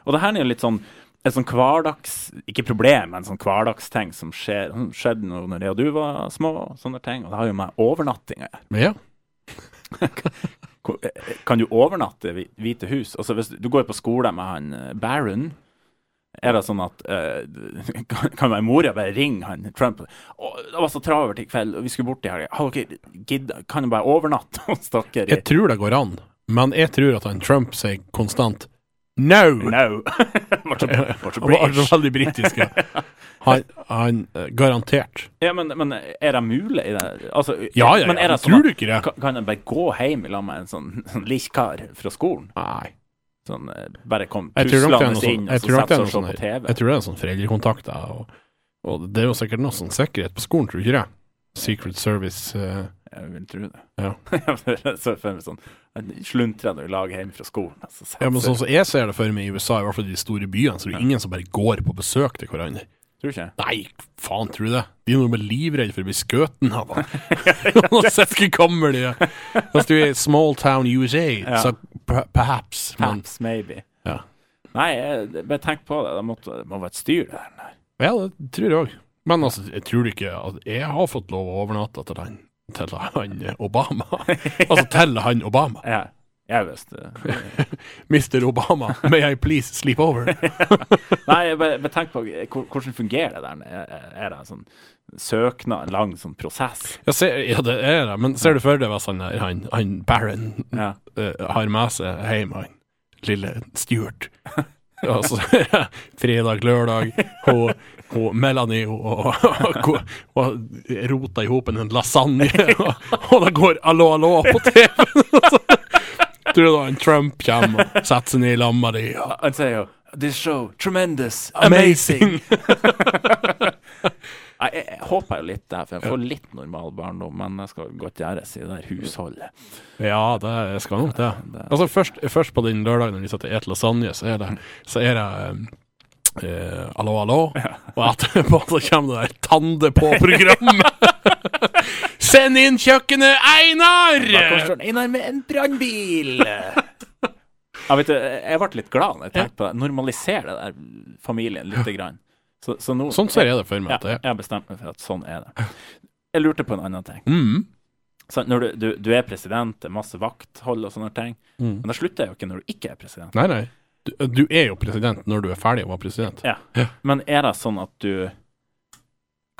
[SPEAKER 1] Og det her er jo litt sånn et sånn hverdags Ikke problem, men sånn hverdagsting som skjer. Som skjedde nå når jeg og du var små, og sånne ting. Og det har jo med overnatting å gjøre.
[SPEAKER 2] Men ja.
[SPEAKER 1] Ko- eh, Kan du overnatte i Hvi- Hvite hus? Altså hvis du går på skole med han eh, Baron er det sånn at eh, <laughs> kan- Kan være mora bare ringe han Trump og, 'Det var så travelt i kveld, og vi skulle bort i helga.' Har dere giddet? Kan du bare overnatte hos dere? i- <laughs>
[SPEAKER 2] Jeg tror det går an, men jeg tror at han Trump sier konstant no.
[SPEAKER 1] No. <laughs> Var så- var
[SPEAKER 2] <laughs>
[SPEAKER 1] så
[SPEAKER 2] Han var altså
[SPEAKER 1] British.
[SPEAKER 2] veldig
[SPEAKER 1] <laughs>
[SPEAKER 2] britisk. ja. Han, han eh, garantert.
[SPEAKER 1] Ja, men, men er det mulig? i det? Altså,
[SPEAKER 2] Ja, ja,
[SPEAKER 1] men er
[SPEAKER 2] ja.
[SPEAKER 1] det
[SPEAKER 2] men
[SPEAKER 1] sånn
[SPEAKER 2] Tror
[SPEAKER 1] at-
[SPEAKER 2] du ikke det?
[SPEAKER 1] Kan- Kan jeg bare gå hjem sammen med en sånn, <laughs> sånn likkar fra skolen?
[SPEAKER 2] Nei.
[SPEAKER 1] Sånn, eh, bare kom
[SPEAKER 2] Jeg tror nok det er noe
[SPEAKER 1] tuslende
[SPEAKER 2] sånn
[SPEAKER 1] inn og
[SPEAKER 2] Jeg
[SPEAKER 1] så
[SPEAKER 2] tror nok det
[SPEAKER 1] sette
[SPEAKER 2] er
[SPEAKER 1] seg og se
[SPEAKER 2] noe sånn
[SPEAKER 1] på
[SPEAKER 2] her.
[SPEAKER 1] TV?
[SPEAKER 2] Jeg tror det er sånn foreldrekontakter, og, og det er jo sikkert noe sånn sikkerhet på skolen, tror du ikke det? Secret Service eh,
[SPEAKER 1] Jeg vil tro det. <laughs>
[SPEAKER 2] Ja.
[SPEAKER 1] så for meg sånn sluntrer i lag hjemme fra skolen. Altså, så,
[SPEAKER 2] Ja, men sånn som jeg ser det for meg i USA, i hvert fall i de store byene, så er det ingen som bare går på besøk til hverandre.
[SPEAKER 1] Tror ikke jeg.
[SPEAKER 2] Nei, faen, tror du det? De er noe med livredde for å bli skutt av.
[SPEAKER 1] <laughs>
[SPEAKER 2] Og sett hvor gammel de er. Hvis du er i small town USA,
[SPEAKER 1] Ja.
[SPEAKER 2] så p- perhaps. Men
[SPEAKER 1] Perhaps, maybe.
[SPEAKER 2] Ja.
[SPEAKER 1] Nei, jeg, bare tenk på det. Det måtte- det må være et styr, det her.
[SPEAKER 2] ja, det tror jeg òg. Men altså, jeg tror ikke at jeg har fått lov å overnatte til han, til han Obama. altså til han Obama.
[SPEAKER 1] Ja, jeg visste det.
[SPEAKER 2] Mr. Obama, may I please sleep over?
[SPEAKER 1] Nei, jeg bare, bare tenk på eh, hvor- hvordan fungerer det der? Er- Er det en sånn søknad, en lang sånn prosess?
[SPEAKER 2] Ja, se, ja, det er det, men ser du for deg hvis han, der, han, han Baron
[SPEAKER 1] Ja.
[SPEAKER 2] eh, har med seg hjem han lille Stuart. Altså, fredag, lørdag, og, og Melanie og, og, og, og rota i hop en lasagne, og, og det går allo, allo på <laughs> TV-en. Tror du da en Trump kommer og setter seg ned i lag med dem? og-
[SPEAKER 1] Han sier jo This show, tremendous, amazing. Nei, jeg, jeg håper jo litt der, for jeg får litt normal barndom, men jeg skal godt gjøres i det der husholdet.
[SPEAKER 2] Ja, det jeg skal nok det. Altså først, først på den lørdagen når de satt og et lasagne, så er det, så er det eh, Allo, allo. Og etterpå så kommer det der Tande <laughs> på-programmet. Send inn kjøkkenet, Einar!
[SPEAKER 1] Bakgårdstolen inn her med en brannbil! <laughs> ja, vet du, jeg ble litt glad når jeg tenkte på det. Normalisere det der familien lite grann. Så, så nå
[SPEAKER 2] Sånn ser jeg det for meg.
[SPEAKER 1] ja,
[SPEAKER 2] at det er.
[SPEAKER 1] Jeg har bestemt meg for at sånn er det. Jeg lurte på en annen ting.
[SPEAKER 2] Mm.
[SPEAKER 1] Så når du, du, du er president, det er masse vakthold og sånne ting,
[SPEAKER 2] Mm.
[SPEAKER 1] men det slutter jo ikke når du ikke er president.
[SPEAKER 2] Nei, nei. Du, du er jo president når du er ferdig å være president.
[SPEAKER 1] Ja.
[SPEAKER 2] Ja.
[SPEAKER 1] Men er det sånn at du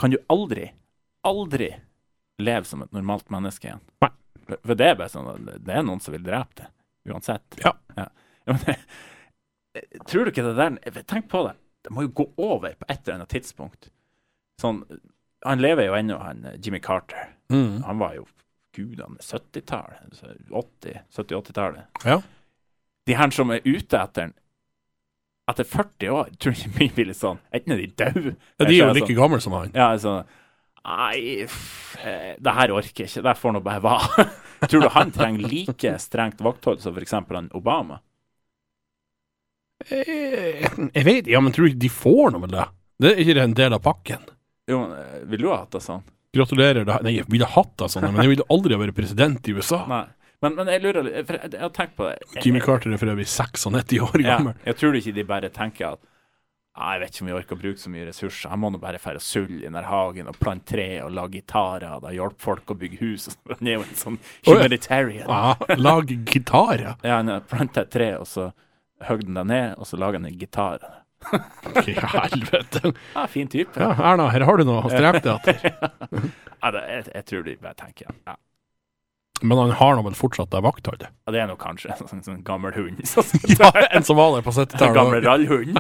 [SPEAKER 1] Kan du aldri, aldri leve som et normalt menneske igjen?
[SPEAKER 2] Nei.
[SPEAKER 1] For- For det er bare sånn at det er noen som vil drepe deg, uansett.
[SPEAKER 2] Ja.
[SPEAKER 1] ja. Ja, men det, tror du ikke det der eh, Tenk på det. Det må jo gå over på et eller annet tidspunkt. Sånn Han lever jo ennå, han eh, Jimmy Carter.
[SPEAKER 2] Mm.
[SPEAKER 1] Han var jo gudene 70-tallet. altså 80, 70-80-tallet.
[SPEAKER 2] Ja.
[SPEAKER 1] De her som er ute etter den, etter 40 år tror jeg vi blir litt sånn Enten er de døde sånn.
[SPEAKER 2] Ja, de er jo like gamle som han.
[SPEAKER 1] Ja, altså Nei, f- eh, det her orker jeg ikke. Det her får nå bare være. <laughs> Tror du han trenger like strengt vakthold som f.eks. Obama?
[SPEAKER 2] Eh, Jeg vet Ja, men tror du ikke de får noe med det? Det er ikke en del av pakken.
[SPEAKER 1] Jo, men eh, vil du ha hatt det sånn?
[SPEAKER 2] Gratulerer. da- Nei, jeg ville hatt det sånn, men jeg ville aldri ha vært president i USA.
[SPEAKER 1] Nei. Men, men jeg lurer litt For jeg, jeg har tenkt på det.
[SPEAKER 2] Jimmy Carter er for øvrig 96 år
[SPEAKER 1] Ja,
[SPEAKER 2] gammel.
[SPEAKER 1] jeg tror ikke de bare tenker at «Nei, jeg vet ikke om vi orker å bruke så mye ressurser. Jeg må nå bare fære og sulle i den her hagen og plante tre og lage gitarer. Da hjelper folk å bygge hus. og sånn. Han er jo en sånn
[SPEAKER 2] ja.
[SPEAKER 1] humanitarian.
[SPEAKER 2] Ja, lag
[SPEAKER 1] <laughs>
[SPEAKER 2] gitarer.
[SPEAKER 1] Ja, han planta et tre, og så høgde han det ned, og så laga han en gitar.
[SPEAKER 2] I helvete.
[SPEAKER 1] Ja, fin type.
[SPEAKER 2] Ja, Erna, her har du noe å strebe
[SPEAKER 1] <laughs>
[SPEAKER 2] deg etter.
[SPEAKER 1] Ja, det, jeg, jeg tror de bare tenker ja.
[SPEAKER 2] Men han har nå vel fortsatt det
[SPEAKER 1] <laughs>
[SPEAKER 2] vaktholdet?
[SPEAKER 1] ja, det er nå kanskje en sånn, sånn gammel hund. <laughs> Sånn, som-
[SPEAKER 2] Ja, en som var der på
[SPEAKER 1] en gammel
[SPEAKER 2] 70-tallet.
[SPEAKER 1] rallhund.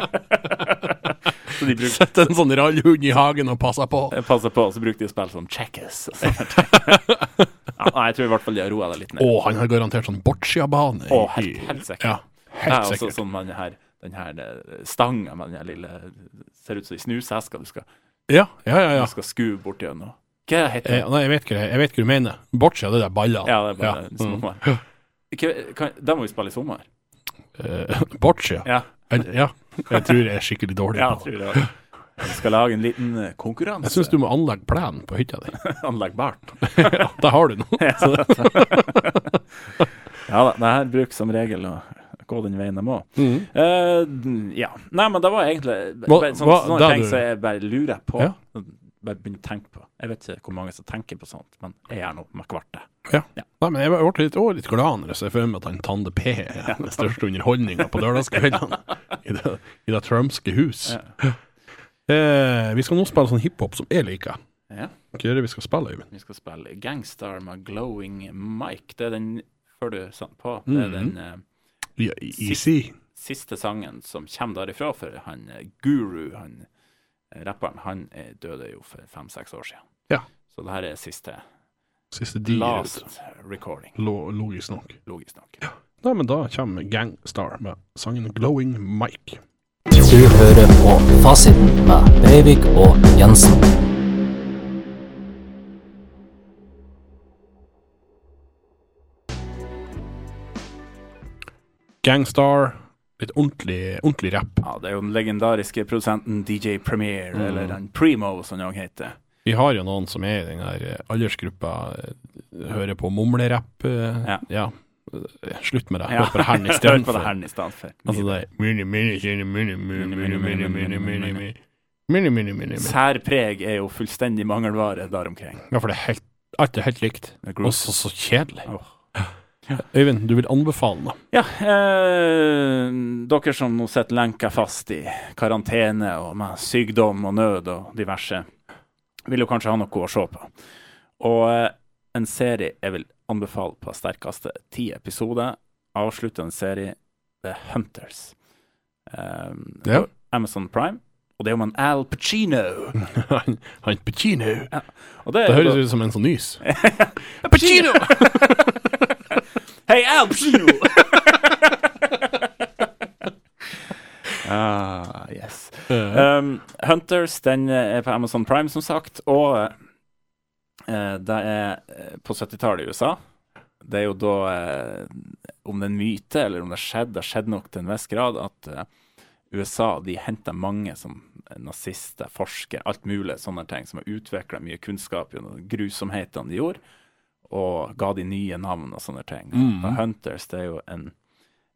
[SPEAKER 1] <laughs> så de bruker
[SPEAKER 2] Sette <laughs> en sånn rallhund i hagen og passe på.
[SPEAKER 1] Jeg passer på, og så bruker de spill som checkers. og
[SPEAKER 2] <laughs>
[SPEAKER 1] sånt. ja, nei, jeg tror i hvert fall de har roa det litt ned.
[SPEAKER 2] Å, han har garantert sånn boccia-bane. i-
[SPEAKER 1] Å, helt- helt sikkert.
[SPEAKER 2] Ja,
[SPEAKER 1] det
[SPEAKER 2] helt
[SPEAKER 1] er også
[SPEAKER 2] sikkert.
[SPEAKER 1] sånn med den her, den her stanga med den her lille Ser ut som ei snuseske du skal,
[SPEAKER 2] Ja, ja, ja. ja.
[SPEAKER 1] du skal skue bort gjennom. Hva heter
[SPEAKER 2] Eh,
[SPEAKER 1] det?
[SPEAKER 2] nei, jeg vet, ikke, det- jeg vet ikke hva du mener. Boccia, det er der ballene.
[SPEAKER 1] Ja, det er bare
[SPEAKER 2] Ja. Mm.
[SPEAKER 1] sommer. Hva- kan, det må vi spille i sommer.
[SPEAKER 2] Eh, <laughs> Boccia?
[SPEAKER 1] Ja,
[SPEAKER 2] Eller, ja. Jeg tror jeg er skikkelig dårlig
[SPEAKER 1] ja jeg
[SPEAKER 2] på det.
[SPEAKER 1] tror det. også. Vi skal lage en liten eh, konkurranse.
[SPEAKER 2] Jeg syns du må anlegge plenen på hytta di.
[SPEAKER 1] <laughs> Anleggbart.
[SPEAKER 2] ja, der har du
[SPEAKER 1] <laughs>
[SPEAKER 2] noe. Så,
[SPEAKER 1] Ja da, det her bruker som regel å gå den veien jeg må. Eh, d- ja. Nei, men det var egentlig
[SPEAKER 2] Mm. Hva-
[SPEAKER 1] bare sånn-
[SPEAKER 2] hva-
[SPEAKER 1] sånne
[SPEAKER 2] det
[SPEAKER 1] ting
[SPEAKER 2] du-
[SPEAKER 1] som jeg bare lurer på.
[SPEAKER 2] Ja.
[SPEAKER 1] Bare begynner å tenke på. Jeg vet ikke hvor mange som tenker på sånt, men jeg er nå med kvartet.
[SPEAKER 2] ja. Nei, men jeg ble- jeg ble litt, å, litt glad når jeg ser for meg at han Tande P er den største underholdninga på
[SPEAKER 1] <laughs>
[SPEAKER 2] lørdagskveldene i, det- i det trumske hus. Eh, vi skal nå spille sånn hiphop som jeg liker.
[SPEAKER 1] Ja.
[SPEAKER 2] Hva er det vi skal spille, Øyvind?
[SPEAKER 1] Vi skal spille Gangstar med Glowing Mike. Det er den før du satte på. Det er
[SPEAKER 2] Mm.
[SPEAKER 1] den eh,
[SPEAKER 2] Ja, easy.
[SPEAKER 1] siste sangen som kommer derifra, for han eh, Guru, han eh, rapperen, han eh, døde jo for fem-seks år siden.
[SPEAKER 2] Ja.
[SPEAKER 1] Så det her er siste
[SPEAKER 2] Siste diger ut.
[SPEAKER 1] last recording,
[SPEAKER 2] Lo- Logisk nok.
[SPEAKER 1] logisk nok.
[SPEAKER 2] Nei, men da kommer Gangstar med sangen 'Glowing Mike'.
[SPEAKER 4] Du hører på Fasiten med Breivik og Jensen.
[SPEAKER 2] Gangstar, litt ordentlig, ordentlig rapp.
[SPEAKER 1] Ja, det er jo den legendariske produsenten DJ Premier,
[SPEAKER 2] Mm.
[SPEAKER 1] eller den Primo, som han heter.
[SPEAKER 2] Vi har jo noen som er i den her eh, aldersgruppa, eh, hører på mumlerapp. eh,
[SPEAKER 1] Ja.
[SPEAKER 2] Ja. Eh, Slutt med det.
[SPEAKER 1] Ja.
[SPEAKER 2] Hør
[SPEAKER 1] <laughs>
[SPEAKER 2] på det her i
[SPEAKER 1] Hør
[SPEAKER 2] stedet
[SPEAKER 1] på det
[SPEAKER 2] for.
[SPEAKER 1] her i stedet for.
[SPEAKER 2] Altså det er mini, mini, mini, mini, mini, mini, mini, mini, mini, mini. Mini, mini, mini, mini.
[SPEAKER 1] Særpreg er jo fullstendig mangelvare der omkring.
[SPEAKER 2] Ja, for det er helt, alt er helt likt.
[SPEAKER 1] Det er gross.
[SPEAKER 2] Og så så kjedelig.
[SPEAKER 1] Mm. Åh.
[SPEAKER 2] Øyvind, du vil anbefale noe?
[SPEAKER 1] Ja, eh, dere som nå sitter lenka fast i karantene og med sykdom og nød og diverse, vil jo kanskje ha noe å se på. Og eh, en serie jeg vil anbefale på sterkeste ti episoder, avsluttende serie, The Hunters. Eh,
[SPEAKER 2] Ja.
[SPEAKER 1] Amazon Prime. Og det er om en Al Pacino.
[SPEAKER 2] <laughs> Han han Pacino.
[SPEAKER 1] Og det,
[SPEAKER 2] Det høres ut som en sånn nys.
[SPEAKER 1] <laughs> Pacino! <laughs> Hei, Al
[SPEAKER 2] <laughs>
[SPEAKER 1] Pacino! ah, yes.
[SPEAKER 2] Eh,
[SPEAKER 1] Um, Hunters den eh, er på Amazon Prime, som sagt. Og eh, det er eh, på 70-tallet i USA. Det er jo da eh, Om det er en myte, eller om det har skjedd, det har skjedd nok til en viss grad at eh, USA de henter mange som nazister, forskere, alt mulig sånne ting, som har utvikla mye kunnskap gjennom grusomhetene de gjorde, og ga de nye navn og sånne ting.
[SPEAKER 2] Mhm.
[SPEAKER 1] Og Hunters det er jo en,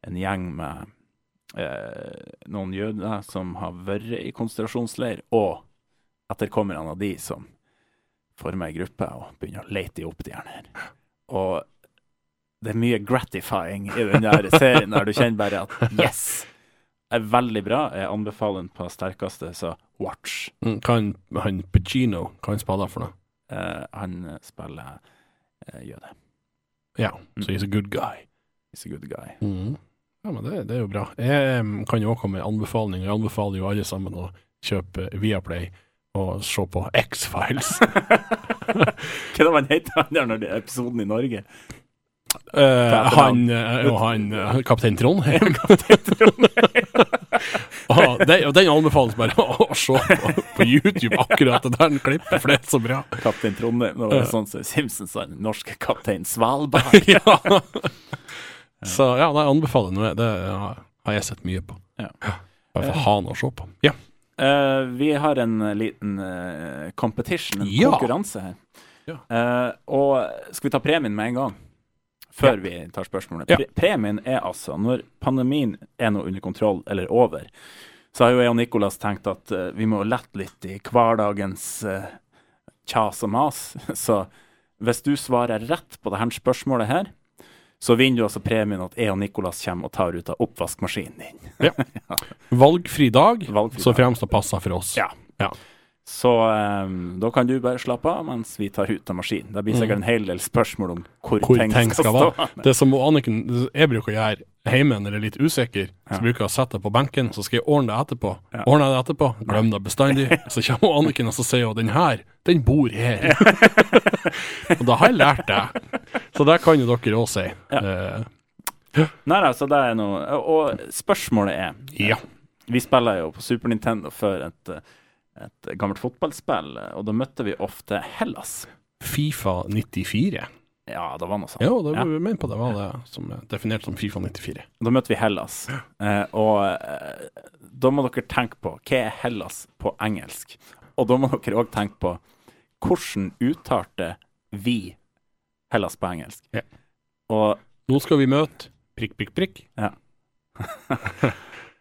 [SPEAKER 1] en gjeng med eh, noen jøder som har vært i konsentrasjonsleir, og etterkommerne av de som former ei gruppe og begynner å lete de opp, de her. Og det er mye gratifying i den der serien der du kjenner bare at yes! Er veldig bra. Jeg anbefaler den på sterkeste, så watch.
[SPEAKER 2] mm, Hva han- han Pacino, hva han spiller for noe?
[SPEAKER 1] Eh, han spiller eh, jøde.
[SPEAKER 2] Ja, så he's a good guy.
[SPEAKER 1] He's a good
[SPEAKER 2] <laughs>
[SPEAKER 1] guy.
[SPEAKER 2] Mm. Ja, men det, det er jo bra. Jeg em, kan jo også komme med anbefalinger. Jeg anbefaler jo alle sammen å kjøpe Viaplay og se på X-Files.
[SPEAKER 1] <laughs> Hva er det man heter han der når det er episoden i Norge?
[SPEAKER 2] Eh, han
[SPEAKER 1] etternavn.
[SPEAKER 2] eh, og han eh, kaptein
[SPEAKER 1] <laughs>
[SPEAKER 2] Trond. <laughs> ah, den, og den anbefales bare å se på, på YouTube, akkurat det der klippet, for det er så
[SPEAKER 1] <laughs>
[SPEAKER 2] bra.
[SPEAKER 1] Kaptein Trondheim. Det var sånn som Simpsons sa, norske kaptein Svalbard.
[SPEAKER 2] ja. Så ja, nei, jeg anbefaler noe. Det ja, har jeg sett mye på.
[SPEAKER 1] Ja.
[SPEAKER 2] Bare for han å se på. Ja.
[SPEAKER 1] Eh, vi har en eh, liten eh, competition, en
[SPEAKER 2] Ja.
[SPEAKER 1] konkurranse her.
[SPEAKER 2] Ja.
[SPEAKER 1] Eh, og skal vi ta premien med en gang? Før vi tar spørsmålet.
[SPEAKER 2] Ja.
[SPEAKER 1] Pre premien er altså, når pandemien er nå under kontroll eller over, så har jo jeg og Nicolas tenkt at eh, vi må lette litt i hverdagens eh, kjas og mas. <laughs> Så hvis du svarer rett på dette spørsmålet her, så vinner du altså premien at jeg og Nicolas kommer og tar ut av oppvaskmaskinen din.
[SPEAKER 2] Valgfri dag,
[SPEAKER 1] Valgfri
[SPEAKER 2] så
[SPEAKER 1] dag.
[SPEAKER 2] fremst det passer for oss.
[SPEAKER 1] Ja.
[SPEAKER 2] Ja.
[SPEAKER 1] Så ehm, da kan du bare slappe av mens vi tar ut av maskinen. Det blir sikkert en hel del spørsmål om hvor,
[SPEAKER 2] Mm. Hvor
[SPEAKER 1] ting skal, stå. <laughs>
[SPEAKER 2] være. Det som Anniken, jeg bruker å gjøre hjemme når jeg er litt usikker, så bruker jeg å sette det på benken, så skal jeg ordne det etterpå. Ordner jeg det etterpå, glem det <laughs> bestandig. Så kommer Anniken og så sier hun den her, den bor her. <laughs> og da har jeg lært det. Så det kan jo dere òg si. Eh,
[SPEAKER 1] Nei, nei, så det er noe. Og spørsmålet er
[SPEAKER 2] ja.
[SPEAKER 1] Vi spiller jo på Super Nintendo før et, eh, et gammelt fotballspill, eh, og da møtte vi ofte Hellas.
[SPEAKER 2] Fifa 94.
[SPEAKER 1] Ja, det var noe sånt.
[SPEAKER 2] Jo, det var vi med på det var det som er definert som Fifa 94.
[SPEAKER 1] Da møtte vi Hellas, eh, og eh, da må dere tenke på hva er Hellas på engelsk? Og da må dere òg tenke på hvordan uttalte vi Hellas på engelsk?
[SPEAKER 2] Ja.
[SPEAKER 1] Og
[SPEAKER 2] Nå skal vi møte prikk, prikk, prikk.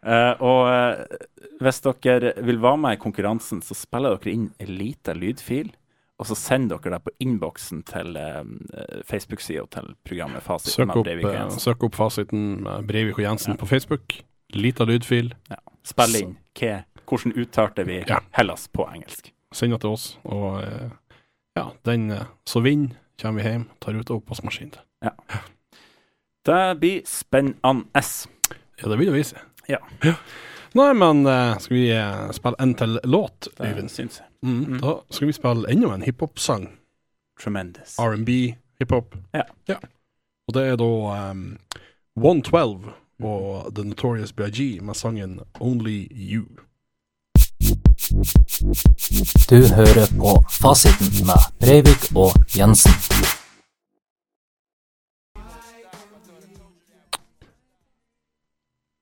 [SPEAKER 1] Eh, og eh, hvis dere vil være med i konkurransen, så spiller dere inn en liten lydfil. Og så sender dere det på innboksen til eh, Facebook-sida til programmet Fasit.
[SPEAKER 2] Søk
[SPEAKER 1] med
[SPEAKER 2] opp,
[SPEAKER 1] Breivik og
[SPEAKER 2] eh,
[SPEAKER 1] Jensen.
[SPEAKER 2] søk opp fasiten med Breivik og Jensen på Facebook. Lita lydfil.
[SPEAKER 1] ja. Spill inn hva, hvordan uttalte vi
[SPEAKER 2] Ja.
[SPEAKER 1] Hellas på engelsk.
[SPEAKER 2] Send det til oss. Og eh, ja, den eh, som vinner, kommer vi hjem, tar ut oppvaskmaskinen.
[SPEAKER 1] Det blir spennende.
[SPEAKER 2] Ja, det vil jo vise.
[SPEAKER 1] Ja.
[SPEAKER 2] Nei, men eh, skal vi eh, spille en til låt,
[SPEAKER 1] Det
[SPEAKER 2] Øyvind?
[SPEAKER 1] syns jeg.
[SPEAKER 2] Mm, Da skal vi spille enda en hiphop-sang.
[SPEAKER 1] Tremendous.
[SPEAKER 2] R&B, hiphop.
[SPEAKER 1] Ja.
[SPEAKER 2] Og det er da um, 112 og The Notorious BIG med sangen Only You.
[SPEAKER 4] Du hører på Fasiten med Breivik og Jensen.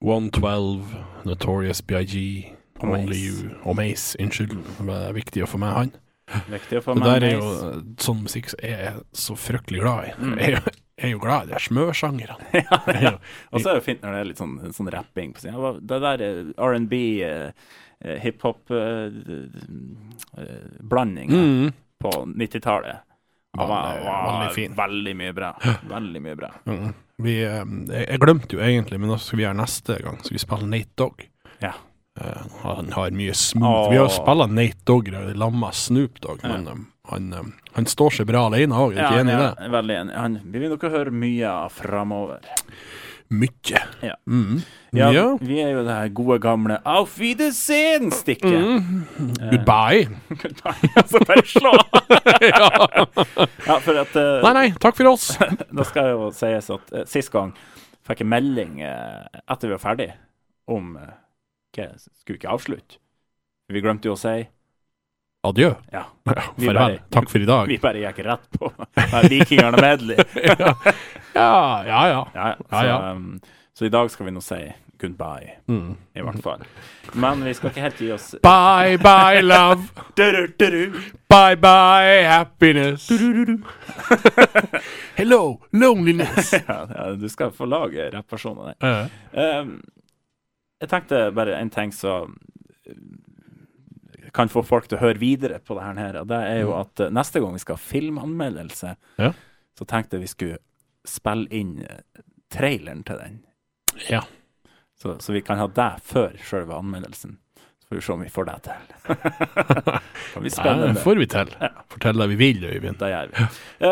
[SPEAKER 2] One Twelve, Notorious BIG,
[SPEAKER 1] Og Mace.
[SPEAKER 2] Only You og Mace. Unnskyld, det er viktig å få med han.
[SPEAKER 1] Viktig å få
[SPEAKER 2] Det
[SPEAKER 1] med
[SPEAKER 2] der er jo eh, sånn musikk som jeg er så fryktelig glad i.
[SPEAKER 1] Mm.
[SPEAKER 2] Jeg, er jo- jeg er jo glad i de her
[SPEAKER 1] <laughs>
[SPEAKER 2] smørsangerne.
[SPEAKER 1] <laughs> ja, ja. Og så er det fint når det er litt sånn, sånn rapping på siden. Hva- Det der er R&B, eh, eh, hiphop-blanding
[SPEAKER 2] Mm.
[SPEAKER 1] på 90-tallet. Det var,
[SPEAKER 2] Veldig-
[SPEAKER 1] var
[SPEAKER 2] veldig fin.
[SPEAKER 1] veldig mye bra. Veldig mye bra.
[SPEAKER 2] Mm. Vi, eh, jeg, jeg glemte jo egentlig, men da skal vi gjøre neste gang. Skal vi spille Nate Dogg?
[SPEAKER 1] Ja.
[SPEAKER 2] Eh, han har mye smooth Vi har
[SPEAKER 1] Åh.
[SPEAKER 2] spilla Nate Dogg i lag med Snoop Dogg, men eh, han, eh, han står seg bra alene òg, er du
[SPEAKER 1] Ja,
[SPEAKER 2] ikke enig i
[SPEAKER 1] ja,
[SPEAKER 2] det?
[SPEAKER 1] veldig enig. Han, vi vil nok høre mye av framover.
[SPEAKER 2] Mye.
[SPEAKER 1] Ja.
[SPEAKER 2] Mm.
[SPEAKER 1] Ja,
[SPEAKER 2] Ja.
[SPEAKER 1] Vi er jo det her gode gamle Auf <laughs>
[SPEAKER 2] Mm.
[SPEAKER 1] Wiedersehen-stikket. Eh.
[SPEAKER 2] Goodbye.
[SPEAKER 1] <laughs>
[SPEAKER 2] <laughs>
[SPEAKER 1] så bare slå!
[SPEAKER 2] ja.
[SPEAKER 1] ja, for at eh,
[SPEAKER 2] Nei, nei, takk for oss.
[SPEAKER 1] <laughs> Da skal jo sies at eh, sist gang fikk jeg melding eh, etter vi var ferdig om eh, hva skulle ikke avslutte. Vi glemte jo å si
[SPEAKER 2] Adjø.
[SPEAKER 1] Ja, Vi
[SPEAKER 2] Farvel.
[SPEAKER 1] bare-
[SPEAKER 2] Takk for i dag.
[SPEAKER 1] vi bare gikk rett på <laughs> Nei, Vikingerne medley.
[SPEAKER 2] ja, ja. ja.
[SPEAKER 1] Ja, ja.
[SPEAKER 2] Ja,
[SPEAKER 1] Så,
[SPEAKER 2] ja.
[SPEAKER 1] um, så i dag skal vi nå si goodbye,
[SPEAKER 2] Mm.
[SPEAKER 1] i hvert fall. Men vi skal ikke helt gi oss
[SPEAKER 2] Bye, bye, love.
[SPEAKER 1] Du-du, du-du.
[SPEAKER 2] Bye, bye, happiness. Hello, loneliness.
[SPEAKER 1] <laughs> ja, ja, Du skal få lage rappversjoner der. Um, jeg tenkte bare en ting som eh, kan få folk til å høre videre på det her, og det er jo at eh, neste gang vi skal ha filmanmeldelse,
[SPEAKER 2] Mm. Ja.
[SPEAKER 1] så tenkte jeg vi skulle spille inn eh, traileren til den,
[SPEAKER 2] ja.
[SPEAKER 1] så, så vi kan ha det før selve anmeldelsen. Så får vi se om vi får det til.
[SPEAKER 2] <laughs>
[SPEAKER 1] kan vi spille
[SPEAKER 2] Det
[SPEAKER 1] det?
[SPEAKER 2] får vi til. Fortell deg vi vil, Øyvind.
[SPEAKER 1] Det gjør vi.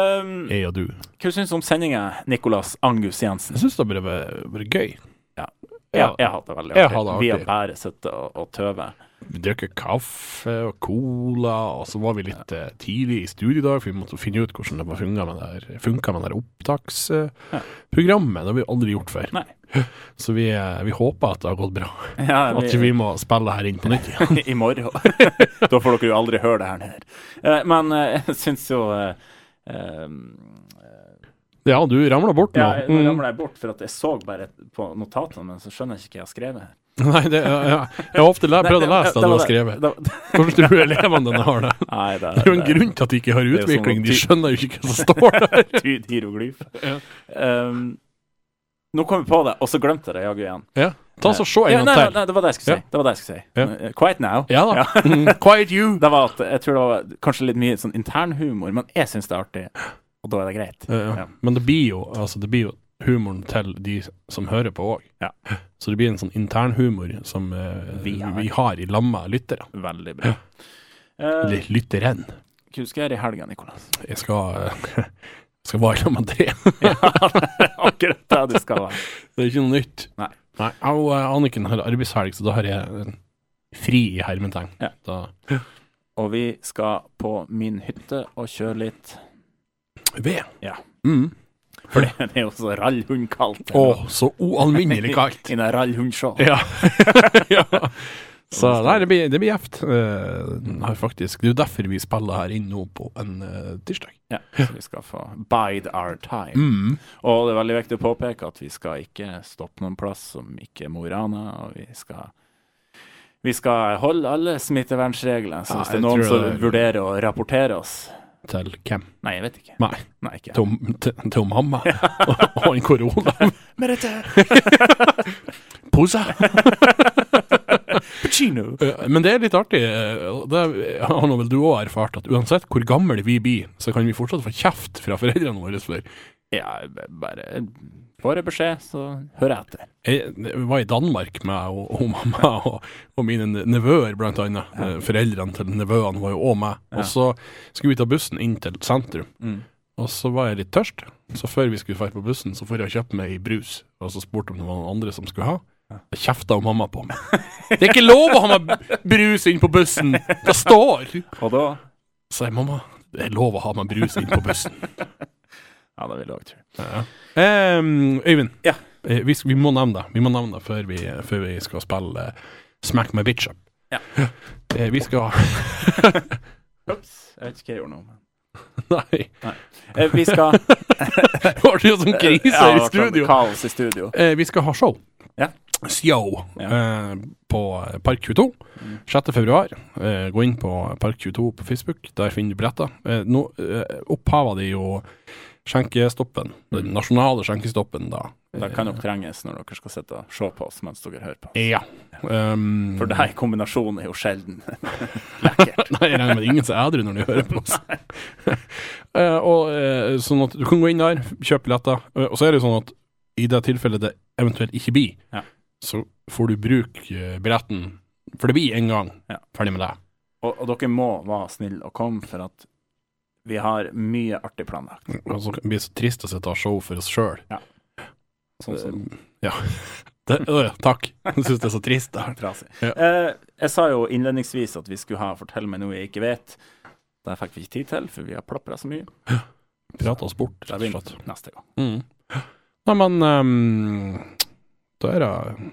[SPEAKER 1] Um,
[SPEAKER 2] Jeg og du.
[SPEAKER 1] hva syns du om sendinga, Nicolas Angus Jensen?
[SPEAKER 2] Jeg syns det bare var gøy.
[SPEAKER 1] Ja. Jeg, jeg hadde det veldig
[SPEAKER 2] Jeg
[SPEAKER 1] artig.
[SPEAKER 2] hadde det
[SPEAKER 1] Vi har
[SPEAKER 2] artig.
[SPEAKER 1] bare sittet og, og tøvet.
[SPEAKER 2] Vi drakk kaffe og cola, og så var vi litt eh, tidlig i studio i dag, for vi måtte finne ut hvordan det var funka med det her- funka med det her
[SPEAKER 1] Ja.
[SPEAKER 2] opptaksprogrammet. Det har vi aldri gjort før.
[SPEAKER 1] Nei.
[SPEAKER 2] Så vi, eh, vi håper at det har gått bra.
[SPEAKER 1] Ja,
[SPEAKER 2] At ikke vi må spille her inn på nytt. igjen.
[SPEAKER 1] <laughs> i morgen. da får dere jo aldri høre det her nede. Eh, men eh, jeg syns jo eh, eh,
[SPEAKER 2] Ja, du ramla bort nå.
[SPEAKER 1] ja, jeg- Nå
[SPEAKER 2] Mm.
[SPEAKER 1] ramler jeg bort, for at jeg så bare på notatene, men så skjønner jeg ikke hva jeg har skrevet. her.
[SPEAKER 2] Mm. <laughs> Nei, det, ja, ja. jeg har ofte le- prøvd å lese det du har skrevet. Hvordan tror du elevene dine har det?
[SPEAKER 1] Nei, det,
[SPEAKER 2] Det er jo en
[SPEAKER 1] <laughs>
[SPEAKER 2] grunn til at de ikke har
[SPEAKER 1] Det er jo sånn
[SPEAKER 2] utvikling,
[SPEAKER 1] at
[SPEAKER 2] de
[SPEAKER 1] ty-
[SPEAKER 2] skjønner jo ikke hva som står der.
[SPEAKER 1] tyd hieroglyf.
[SPEAKER 2] Ja.
[SPEAKER 1] Ehm, nå kom jeg på det, og så glemte jeg det jaggu igjen.
[SPEAKER 2] Ta så Se
[SPEAKER 1] Ja, nei,
[SPEAKER 2] en
[SPEAKER 1] nei,
[SPEAKER 2] gang til.
[SPEAKER 1] nei, det var det jeg skulle si.
[SPEAKER 2] Ja.
[SPEAKER 1] Det var det jeg skulle si.
[SPEAKER 2] Ja.
[SPEAKER 1] Eh, Quiet now.
[SPEAKER 2] Ja da. Mm, Quiet you.
[SPEAKER 1] Det var at jeg tror det var kanskje litt mye sånn internhumor, men jeg syns det er artig, og da er det greit.
[SPEAKER 2] Ja, ja.
[SPEAKER 1] Ja.
[SPEAKER 2] Men det blir jo altså det blir jo humoren til de som hører på òg.
[SPEAKER 1] Ja.
[SPEAKER 2] Så det blir en sånn internhumor som eh,
[SPEAKER 1] Vi
[SPEAKER 2] vi,
[SPEAKER 1] har.
[SPEAKER 2] har. i lag med lyttere.
[SPEAKER 1] Veldig bra. Eh,
[SPEAKER 2] Eller lytteren.
[SPEAKER 1] Hva skal jeg gjøre i helga,
[SPEAKER 2] <laughs>
[SPEAKER 1] Nikolas?
[SPEAKER 2] Jeg skal, eh, skal være i lag med det.
[SPEAKER 1] Akkurat <laughs> det du skal være.
[SPEAKER 2] Det er ikke noe nytt.
[SPEAKER 1] Nei.
[SPEAKER 2] Nei jeg og eh, Anniken har arbeidshelg, så da har jeg eh, fri i hermetegn.
[SPEAKER 1] Ja.
[SPEAKER 2] Da
[SPEAKER 1] Og vi skal på min hytte og kjøre litt
[SPEAKER 2] ved.
[SPEAKER 1] Ja.
[SPEAKER 2] Mm.
[SPEAKER 1] For det er jo så rallhundkaldt.
[SPEAKER 2] Å, så
[SPEAKER 1] <laughs>
[SPEAKER 2] ualminnelig kaldt.
[SPEAKER 1] I den rallhundshow.
[SPEAKER 2] Ja. <laughs> ja. Så nei, det blir, det blir gjevt. Eh, har faktisk, det er jo derfor vi spiller her inn nå på en eh, tirsdag.
[SPEAKER 1] Ja, så vi skal få bide our time.
[SPEAKER 2] Mm.
[SPEAKER 1] Og det er veldig viktig å påpeke at vi skal ikke stoppe noen plass som ikke er Mo i Rana, og vi skal vi skal holde alle smittevernregler, så
[SPEAKER 2] Ja,
[SPEAKER 1] hvis det
[SPEAKER 2] jeg
[SPEAKER 1] er noen
[SPEAKER 2] tror
[SPEAKER 1] som
[SPEAKER 2] det er-
[SPEAKER 1] vurderer å rapportere oss
[SPEAKER 2] Til hvem?
[SPEAKER 1] Nei, jeg vet ikke.
[SPEAKER 2] Nei,
[SPEAKER 1] Nei, ikke.
[SPEAKER 2] til, til, til mamma <laughs> og en korona.
[SPEAKER 1] Merete
[SPEAKER 2] Pose!
[SPEAKER 1] Pacino!
[SPEAKER 2] Eh, Men det er litt artig. eh, og Det har nå vel du òg erfart, at uansett hvor gammel vi blir, så kan vi fortsatt få kjeft fra foreldrene våre. For
[SPEAKER 1] Ja, bare får jeg beskjed, så hører jeg etter.
[SPEAKER 2] jeg var i Danmark med og, og mamma <laughs> og, og mine ne- nevøer, blant annet. Eh, Foreldrene til nevøene var jo òg med. Og så skulle vi ta bussen inn til sentrum.
[SPEAKER 1] Mm.
[SPEAKER 2] Og så var jeg litt tørst, så før vi skulle dra på bussen, så får jeg kjøpe meg ei brus. Og så spurte om det var noen andre som skulle ha. Da kjefta jo mamma på meg. Det er ikke lov å ha med brus inn på bussen! Det står!
[SPEAKER 1] Og da
[SPEAKER 2] Så jeg, mamma, det er lov å ha med brus inn på bussen.
[SPEAKER 1] Ja, det vil jeg òg tro.
[SPEAKER 2] <laughs> Em, Øyvind,
[SPEAKER 1] Ja.
[SPEAKER 2] eh, vi, sk- vi må nevne det Vi må nevne det før vi, før vi skal spille eh, Smack my bitch up.
[SPEAKER 1] Ja.
[SPEAKER 2] <laughs> Eh, vi skal
[SPEAKER 1] Ops, jeg vet ikke hva jeg gjorde nå. men-
[SPEAKER 2] <laughs> Nei,
[SPEAKER 1] Eh, Vi <laughs> skal
[SPEAKER 2] det var jo sånn krise
[SPEAKER 1] Ja, det var
[SPEAKER 2] i
[SPEAKER 1] sånn
[SPEAKER 2] studio.
[SPEAKER 1] Kaos i <laughs> studio.
[SPEAKER 2] Eh, vi skal ha show.
[SPEAKER 1] Ja.
[SPEAKER 2] Show eh, på Park 22.
[SPEAKER 1] Mm.
[SPEAKER 2] 6. februar. Eh, gå inn på Park 22 på Facebook. Der finner du billetter. Eh, nå eh, opphaver de jo skjenkestoppen. Den nasjonale skjenkestoppen, da.
[SPEAKER 1] Det kan nok trenges når dere skal sitte og se på oss mens dere hører på.
[SPEAKER 2] Ja. Um,
[SPEAKER 1] For det her i kombinasjon er jo sjelden lekkert.
[SPEAKER 2] <laughs> Nei, jeg regner med det er ingen som er edru når de hører på oss. <laughs> Eh, og, eh, sånn at du kan gå inn der, kjøpe billetter. eh, og så er det jo sånn at i det tilfellet det eventuelt ikke blir,
[SPEAKER 1] Ja.
[SPEAKER 2] så får du bruke eh, billetten. For det blir én gang.
[SPEAKER 1] Ja.
[SPEAKER 2] Ferdig med det.
[SPEAKER 1] <laughs> Og, og dere må være snille og komme, for at vi har mye artig planlagt.
[SPEAKER 2] Og så blir det så trist å sitte og ha show for oss sjøl. Eh.
[SPEAKER 1] Sånn som
[SPEAKER 2] Ja. <laughs> Det, øh, takk. Jeg syns det er så trist. Det. her.
[SPEAKER 1] trasig.
[SPEAKER 2] Ja.
[SPEAKER 1] Eh, jeg sa jo innledningsvis at vi skulle ha 'Fortell meg noe jeg ikke vet'. Det fikk vi ikke tid til, for vi har plapra så mye.
[SPEAKER 2] Prate oss bort,
[SPEAKER 1] Det
[SPEAKER 2] rett
[SPEAKER 1] blir
[SPEAKER 2] og slett.
[SPEAKER 1] neste gang.
[SPEAKER 2] Mm. Nei, men ehm, da er det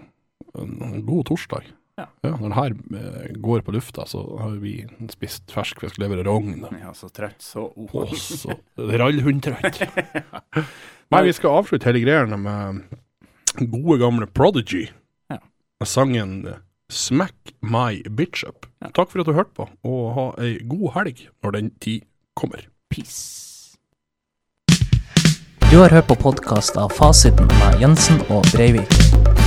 [SPEAKER 2] en god torsdag.
[SPEAKER 1] Ja.
[SPEAKER 2] når det her eh, går på lufta, så har vi spist ferskfisklever og rogn.
[SPEAKER 1] Jeg er så trøtt, så oh.
[SPEAKER 2] Og så
[SPEAKER 1] <laughs>
[SPEAKER 2] rallhundtrøtt. Nei, vi skal avslutte hele greiene med eh, gode gamle Prodigy.
[SPEAKER 1] Ja.
[SPEAKER 2] Med sangen eh, Smack My Bitch Up.
[SPEAKER 1] Ja.
[SPEAKER 2] Takk for at du hørte på, og ha ei god helg når den tid kommer.
[SPEAKER 1] Peace.
[SPEAKER 4] Du har hørt på podkast av Fasiten med Jensen og Breivik.